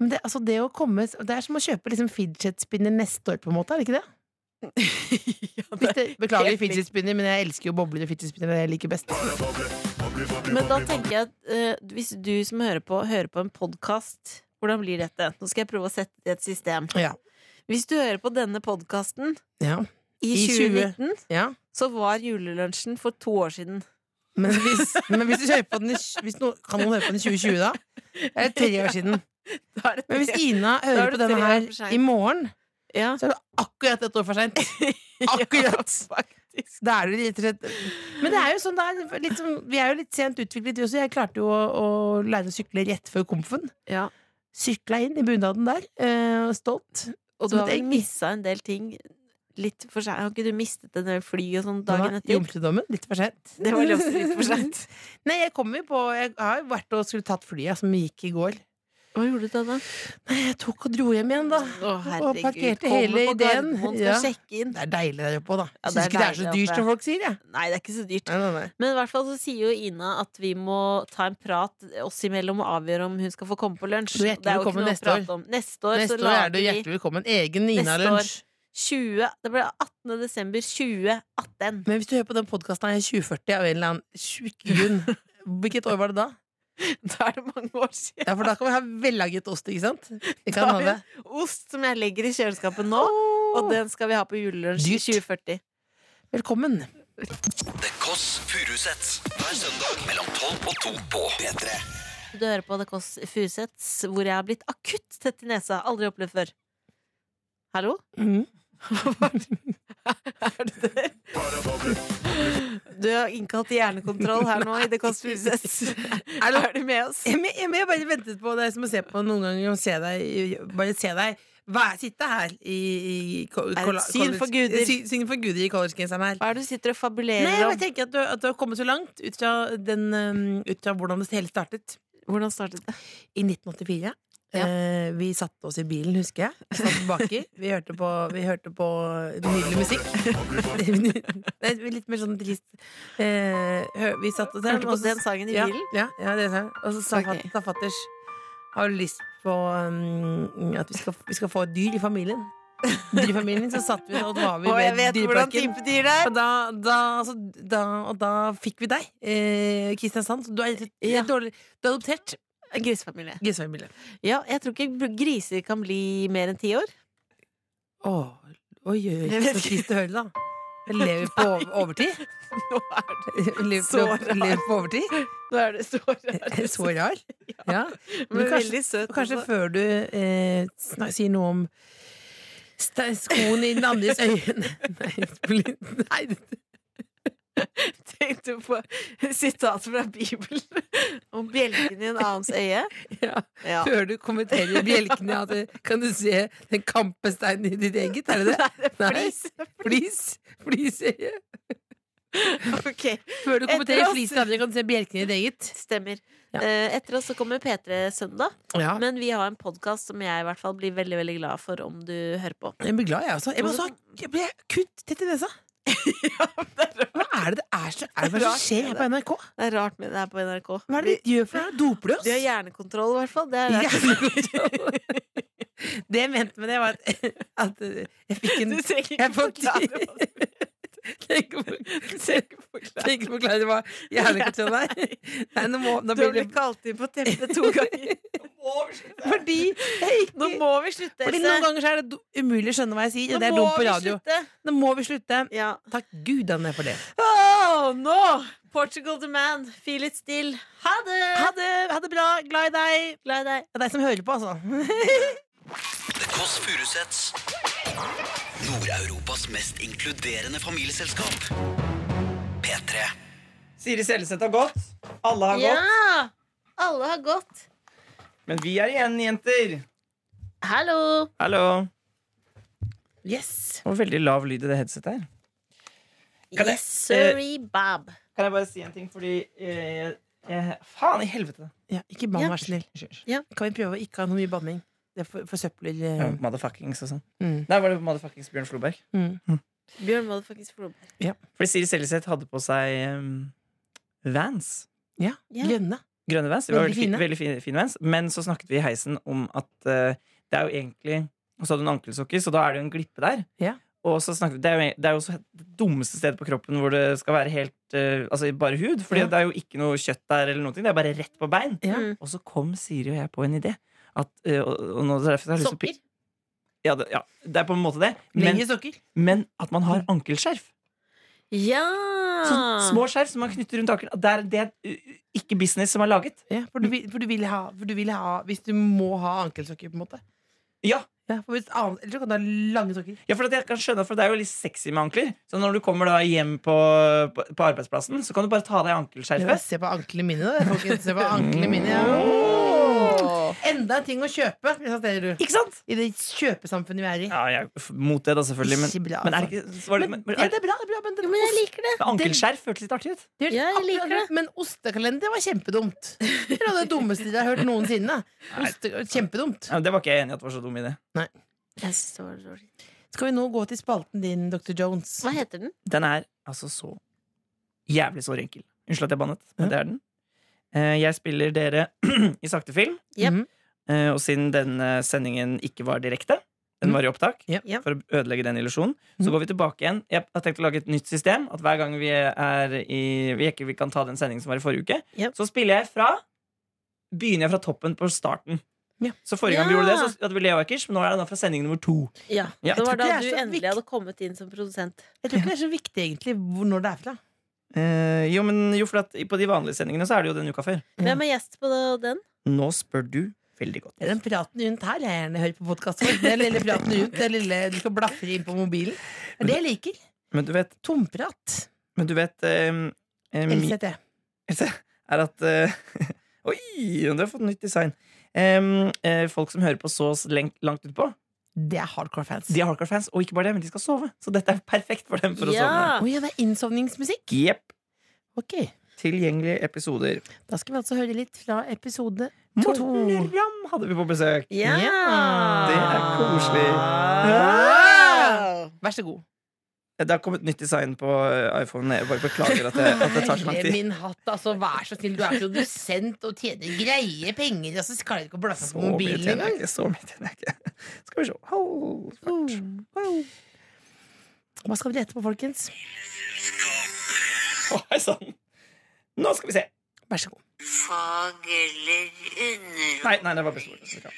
D: Men det, altså, det å komme Det er som å kjøpe liksom, fidget spinner neste år, på en måte, er det ikke [laughs] det? Hvis det beklager
F: helt
D: fidget spinner, men jeg elsker jo bobler og fidget spinner. Det er det jeg liker best.
C: Men da tenker jeg at eh, hvis du som hører på, hører på en podkast, hvordan blir dette? Nå skal jeg prøve å sette det i et system.
D: Ja.
C: Hvis du hører på denne podkasten
D: Ja.
C: i
D: I 20.
C: 2019,
D: ja.
C: så var julelunsjen for to år siden. [laughs]
D: Men, hvis, men hvis du hører på den i, tj- hvis noen, Kan noen høre på den i 2020, da? Det er tre år siden.
F: Da er det
D: [laughs] Men hvis
F: tre.
D: Ina
F: Da
D: hører
F: er
D: på
F: det
D: denne
F: tre år
D: her
F: for sent.
D: i morgen,
F: Ja.
D: så er det akkurat et år for
C: [laughs]
D: seint. Akkurat! Da er det rett og slett Men det er jo sånn, det er litt som, vi er jo litt sent utviklet, vi også. Jeg klarte jo å, å lære å sykle rett før komfen.
F: Ja.
D: Sykla inn i bunaden der, eh, og stolt.
C: Og du
D: Som
C: har
D: et
C: vel
D: egg.
C: missa en del ting litt for seg. Har ikke du mistet en del fly og sånn
D: Det
C: dagen
D: var
C: etter?
D: Jomfrudommen, litt for sent.
F: Det var også litt for sent.
D: [laughs] Nei, jeg kom jo på Jeg har jo vært og skulle tatt flyet, som gikk i går.
C: Hva gjorde du da? da?
D: Nei, jeg tok og dro hjem igjen, da.
C: Å, herregud.
D: parkerte
C: Kommer
D: hele
C: på
D: ideen.
C: Gardermoen,
D: Ja.
C: Skal sjekke inn.
D: Det er deilig der oppe òg, da.
C: Ja,
D: Jeg
C: det er
D: Syns ikke det er så
C: deilig
D: dyrt
C: oppe.
D: som folk sier, jeg.
C: Nei, det er ikke så dyrt.
D: Nei, nei, nei.
C: Men i hvert fall så sier jo Ina at vi må ta en prat oss imellom og avgjøre om hun skal få komme på lunsj.
D: Du er hjertelig
C: Det er jo ikke
D: velkommen
C: noe å
D: neste år.
C: prate om. Neste år
D: Neste
C: så
D: år er
C: lager
D: du
C: vi
D: hjertelig velkommen. Egen
C: Neste år.
D: Nina-lunsj.
C: 20 Det ble 18. desember [laughs] 2018.
D: Men hvis du hører på den podkasten i 2040 av en eller annen tjukk grunn Hvilket år var det da?
F: Da er det mange år siden.
D: Ja, for da kan vi ha vellaget ost, ikke sant? Vi
F: Da
D: kan ha
F: har vi
D: det.
C: Ost som jeg legger i kjøleskapet nå, og den skal vi ha på julelunsj i
D: Dyrt.
C: 2040.
D: Velkommen.
B: The Kåss Furuseths hver søndag mellom 12 og 2 på P3.
C: Du hører på The Kåss Furuseths, hvor jeg har blitt akutt tett i nesa. Aldri opplevd før. Hallo?
D: Mm. [laughs]
F: Du har innkalt til hjernekontroll her nå i The Kåss Furuseths. Er, du- er du med oss?
D: Jeg, må- jeg, må- jeg bare ventet på deg som å se på noen ganger og se deg Bare se deg Hva- sitte her i, i ko-
F: et
D: kolla-
F: syn for
D: college-
F: guder.
D: Syn, syn for guder i collegegenseren her.
F: Hva er det du sitter og
D: Nei, jeg
F: fabulerer
D: bare
F: om?
D: tenker at du, at du har kommet så langt ut fra, den, um, ut fra hvordan det hele startet.
F: Hvordan startet det?
D: I 1984
J: Ja.
D: Eh, vi satte oss i bilen, husker jeg. Vi Satt
C: [laughs]
D: baki. Vi hørte på, vi hørte på nydelig musikk. Nei, litt mer sånn trist eh, hø- Vi satt oss der.
C: Hørte på
D: og så-
C: den sangen i
D: ja,
C: bilen?
D: Ja. ja det sa jeg. Og så sa
C: Ok.
D: fat- sa fatters Har du lyst på um, at vi skal, vi skal få et dyr i familien? Dyr i familien, så satt vi og da var vi
C: Og jeg
D: ved
C: vet hvordan
D: dyreparken.
C: type dyr det er!
D: Og da, da, altså, da, og da fikk vi deg, eh, Kristiansand. Så du er litt, litt
C: Ja.
D: dårlig Du er adoptert.
C: En grisefamilie.
D: Grisefamilie.
C: Ja, jeg tror ikke griser kan bli mer enn ti år.
D: Åh, oi, oi, oi.
C: Jeg vet
D: Så
C: ikke.
D: trist å høre, da. Jeg lever
C: [laughs]
D: på ov- overtid.
C: Nå er det,
D: Lever
C: Så
D: på-
C: rart.
D: lever på overtid.
C: nå er det så
D: Er [laughs] det
C: rart.
D: Så
C: [laughs]
D: rar. Ja.
C: Men
D: Men kanskje,
C: veldig søt.
D: kanskje
C: også.
D: før du eh, snak, sier noe om sta- skoen i den andres øye [laughs] Nei, nei,
C: [laughs] tenkte på sitat fra Bibelen [laughs] om bjelken i en annens øye.
D: ja.
C: Ja.
D: [laughs] Før du kommenterer bjelkene, ja, det- kan du se den kampesteinen i ditt eget? Er
C: [laughs]
D: det det?
C: Flis.
D: Flis. Flisøye.
C: Ok,
D: Før du
C: Etter
D: kommenterer
C: oss.
D: flis i andre, kan du se bjelkene i ditt eget.
C: stemmer.
D: Ja.
C: Eh, Etter oss så kommer P3 Søndag,
D: Ja.
C: men vi har en podkast som jeg i hvert fall blir veldig veldig glad for om du hører på.
D: Jeg blir glad, jeg også. Jeg, ble
C: Også-
D: så, jeg ble kutt tett i nesa. [laughs] Hva er det det er, så, er det hva som
C: Rart,
D: skjer her på NRK?
C: Det er rart med det her på NRK.
D: Hva er det de gjør for noe? Doper de
C: De har
D: oss?
C: hjernekontroll, i hvert fall. Det er rart.
D: Hjernekontroll. [laughs] Det jeg mente med det, var at, at jeg fikk en [laughs]
C: Du trenger ikke
D: jeg får-
C: forklare hva
D: Tenk å tenk å forklare hva hjernekontroll er. Nei, nå må, nå
C: Du har
D: blir det
C: blitt kalt
D: [laughs]
C: inn på teppet to ganger.
D: Fordi jeg ikke
C: Nå må vi slutte,
D: Fordi noen ganger så er det do- umulig å skjønne hva jeg sier. og Det er dumt på radio. Nå må vi slutte.
C: Ja.
D: Takk gud han er for det.
C: Åh, nå! Portugal the man. Feel it still. Ha det!
D: Ha det, ha det bra. Glad i deg.
C: Glad i deg.
D: Det er deg som hører på, altså.
B: The Kåss Furuseths. Nord-Europas mest inkluderende familieselskap. P3.
K: [laughs] Siri Seljeseth har gått. Alle har gått.
J: Ja! Alle har gått.
K: Men vi er igjen, jenter.
J: Hallo!
K: Hallo.
D: Yes.
K: Det var veldig lav lyd i det headsetet her. Kan jeg-
J: Yes,
D: eh,
J: sorry, Bob.
K: Kan jeg bare si en ting, fordi eh, jeg, Faen i helvete!
D: Ja, ikke bann, vær så snill.
K: Unnskyld. unnskyld.
D: Kan vi prøve å ikke ha noe mye banning? Det for- forsøpler
K: Ja,
D: eh,
K: Motherfuckings og sånn.
D: Mm.
K: Der var det motherfuckings Bjørn Floberg.
C: Bjørn motherfuckings Floberg.
K: Fordi Siri Seljeseth hadde på seg em, Vans.
D: ja.
C: Ja.
D: grønne.
K: Grønne Vans. Det var
D: Veldig
K: veldig, fin,
D: fine.
K: veldig fin, fin Vans. Men så snakket vi i heisen om at eh, det er jo egentlig Og så hadde hun ankelsokker, så da er det jo en glippe der.
D: Ja.
K: Og så snakket vi, Det er jo, det er jo så det dummeste stedet på kroppen hvor det skal være helt eh, Altså bare hud. Fordi
D: Ja.
K: det er jo ikke noe kjøtt der, eller noen ting. Det er bare rett på bein.
D: Ja.
C: Mm.
K: Og så kom Siri og jeg på en idé. At, eh, og, og nå, derfor, har jeg lyst til å pi-
J: Sokker.
K: Ja, det, ja, det er på en måte det. Men,
D: Lengre sokker.
K: men at man har ankelskjerf.
J: Ja!
K: Så små skjerf som man knytter rundt ankelen. Det er, det er uh, ikke business som er laget.
D: Ja, for, du, vil- for, du vil ha, for du vil ha Hvis du må ha ankelsokker, på en måte.
K: Ja,
D: Ja, for hvis annet, Eller så kan du ha lange sokker.
K: Ja, for at jeg kan skjønne, for Det er jo litt sexy med ankler. Så når du kommer da hjem på, på, på arbeidsplassen, så kan du bare ta av deg
D: Ja,
K: ankelskjerfet.
D: se på anklene mine, da. Folkens, se på anklene mine. Ja.
K: Mm.
D: Enda en ting å kjøpe, konstaterer du.
K: Ikke sant?
D: I det kjøpesamfunnet vi er i.
K: Ja, jeg er f- mot det, da, selvfølgelig. Men,
D: Ikke bra,
K: men er
D: altså.
K: det ikke så var det, men, men,
D: Ja, det
K: er,
D: er bra, det er bra, men det
J: Men jeg liker det.
K: Ankelskjerf hørtes litt artig ut.
D: Det er
J: Ja, jeg liker
D: akkurat- Men ostekalender var kjempedumt. Det er noe av det dummeste jeg har hørt noensinne. Oste, kjempedumt.
K: Ja, men det var ikke jeg enig i at var så dum idé.
C: Jeg synes det var dårlig.
D: Skal vi nå gå til spalten din, Dr. Jones?
J: Hva heter den?
K: Den er altså så jævlig såre enkel. Unnskyld at jeg bannet, men det er den. Eh, Jeg spiller dere [clears throat] i sakte film.
J: Jep.
D: Mhm.
K: Eh, Og siden denne sendingen ikke var direkte, den var i opptak,
D: Ja.
C: Ja.
K: for å ødelegge den illusjonen,
D: Mm.
K: så går vi tilbake igjen. Jeg har tenkt å lage et nytt system. At hver gang vi er i Vi ikke vi kan ta den sendingen som var i forrige uke,
C: Ja.
K: så spiller jeg fra Begynner jeg fra toppen på starten.
D: Ja.
K: Så forrige gang vi
J: Ja.
K: gjorde det, så hadde vi Leo Ajkic, men nå er det da fra sending nummer to.
J: Ja.
K: Ja,
J: det
D: jeg tror
J: var da
D: ikke
J: du
D: det er så
J: endelig
D: viktig.
J: hadde kommet inn som produsent.
D: Jeg tror ikke det er så viktig egentlig hvor, når det er fra.
K: Eh, jo, men jo, for at på de vanlige sendingene så er det jo den uka før.
J: Hvem er gjest på den?
K: Nå spør du veldig godt.
D: Det er den praten rundt her jeg gjerne hører på podkast for. Den lille praten rundt, den lille du skal blafre inn på mobilen. Det er det jeg liker.
K: Men du vet,
D: Tomprat.
K: men du vet ehm, ehm,
D: LCT.
K: Er at eh, [laughs] Oi, du har fått nytt design. Ehm, eh, folk som hører på så s- lenk- langt utpå,
D: Det er hardcore fans.
K: de er hardcore fans. Og ikke bare det, men de skal sove. Så dette er perfekt for dem for å sovne.
J: Ja!
D: Å ja, det er innsovningsmusikk.
K: Jepp.
D: Ok,
K: Tilgjengelige episoder.
D: Da skal vi altså høre litt fra episode
K: Torneram hadde vi på besøk.
D: Ja!
K: Det er koselig. Ah!
D: Vær så god.
K: Det har kommet nytt design på eh, iPhone. Jeg bare beklager at det, at det tar så lang
D: Herre
K: tid.
D: min hatt, altså, vær så snill. Du er produsent og tjener greie penger. Altså, så klarer du ikke å blasse
K: Så
D: på
K: mye
D: mobilen
K: tjener jeg
D: engang.
K: ikke. Så mye tjener jeg ikke. Skal vi se. Hold fart.
D: Hva skal vi lete på, folkens?
K: Å, Hei sann. Nå skal vi se.
D: Vær så god.
B: Fag eller
K: Nei, nei det var bestemor.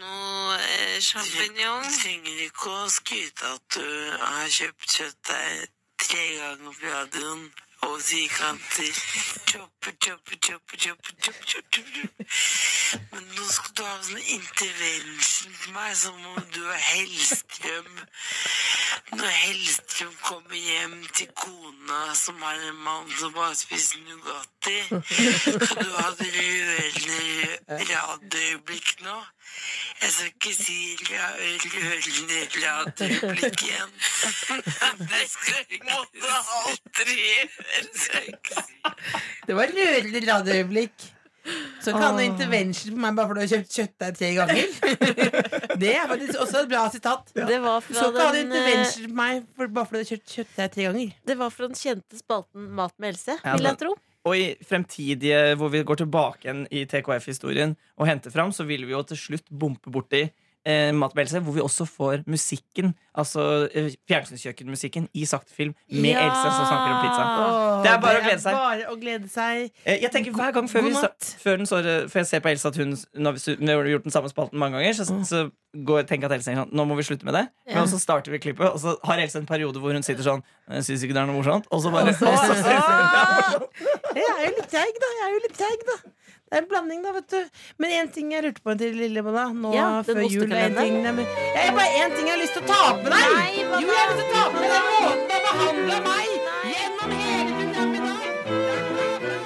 B: Noe eh, champignon. Trenger ikke å skryte at du har kjøpt kjøttdeig tre ganger på radioen. Og sikanter. Choppe, choppe, choppe, choppe, choppe, choppe, choppe. Men nå skal du ha sånn intervention på meg, som om du er Hellstrøm. Når Hellstrøm kommer hjem til kona som har en mann som bare spiser Nugatti, skal du ha et rørende radioøyeblikk nå? Jeg skal ikke si ra- rørende radioøyeblikk igjen. Det skal du måtte aldri gjøre. Det skal jeg ikke si.
D: Det var rørende radioøyeblikk. Så kan du intervention på meg bare fordi du har kjøpt kjøttdeig tre ganger. [laughs] Det er faktisk også et bra sitat.
C: Det var
D: Du skal ikke
C: fra
D: ha
C: den, eh,
D: intervention på meg for, bare fordi du har kjøpt kjøttdeig tre ganger.
C: det var fra den kjente spalten Mat med Else,
K: Ja,
C: vil
K: men-
C: jeg tro.
K: Og i fremtidige, hvor vi går tilbake igjen i TKF-historien og henter fram, så vil vi jo til slutt bompe borti eh, Mat med Else, hvor vi også får musikken, altså eh, fjernsynskjøkkenmusikken, i sakte film med
C: Ja.
K: Else som snakker om pizza. Det er bare å glede seg.
D: Bare å glede seg.
K: Eh, Jeg tenker hver gang før,
D: God
K: vi, sta-
D: natt.
K: før, den, står- før jeg ser på Else at hun Når vi, når vi har gjort den samme spalten mange ganger, så, så går, tenker jeg at Else tenker sånn Nå må vi slutte med det. Men så starter vi klippet, og så har Else en periode hvor hun sitter sånn Jeg syns ikke det er noe morsomt. Og så bare
D: Ah! Jeg er jo litt treig, da. Jeg er jo litt treig, da. Det er en blanding, da, vet du. Men én ting jeg lurte på til Lillebolla nå
C: Ja, den
D: før jul. er
C: ostekalenderen.
D: En ting, nei, men, jeg er bare én ting jeg har lyst til å ta opp med deg.
C: Nei, hva
D: jo,
C: da?
D: jeg har lyst til å ta opp med deg den måten du har behandla meg gjennom hele programmet i dag.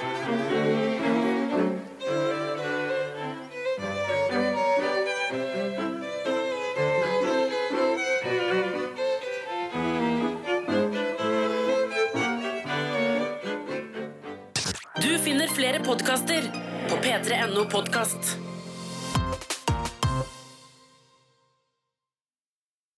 L: Du finner flere podkaster på p3.no podkast.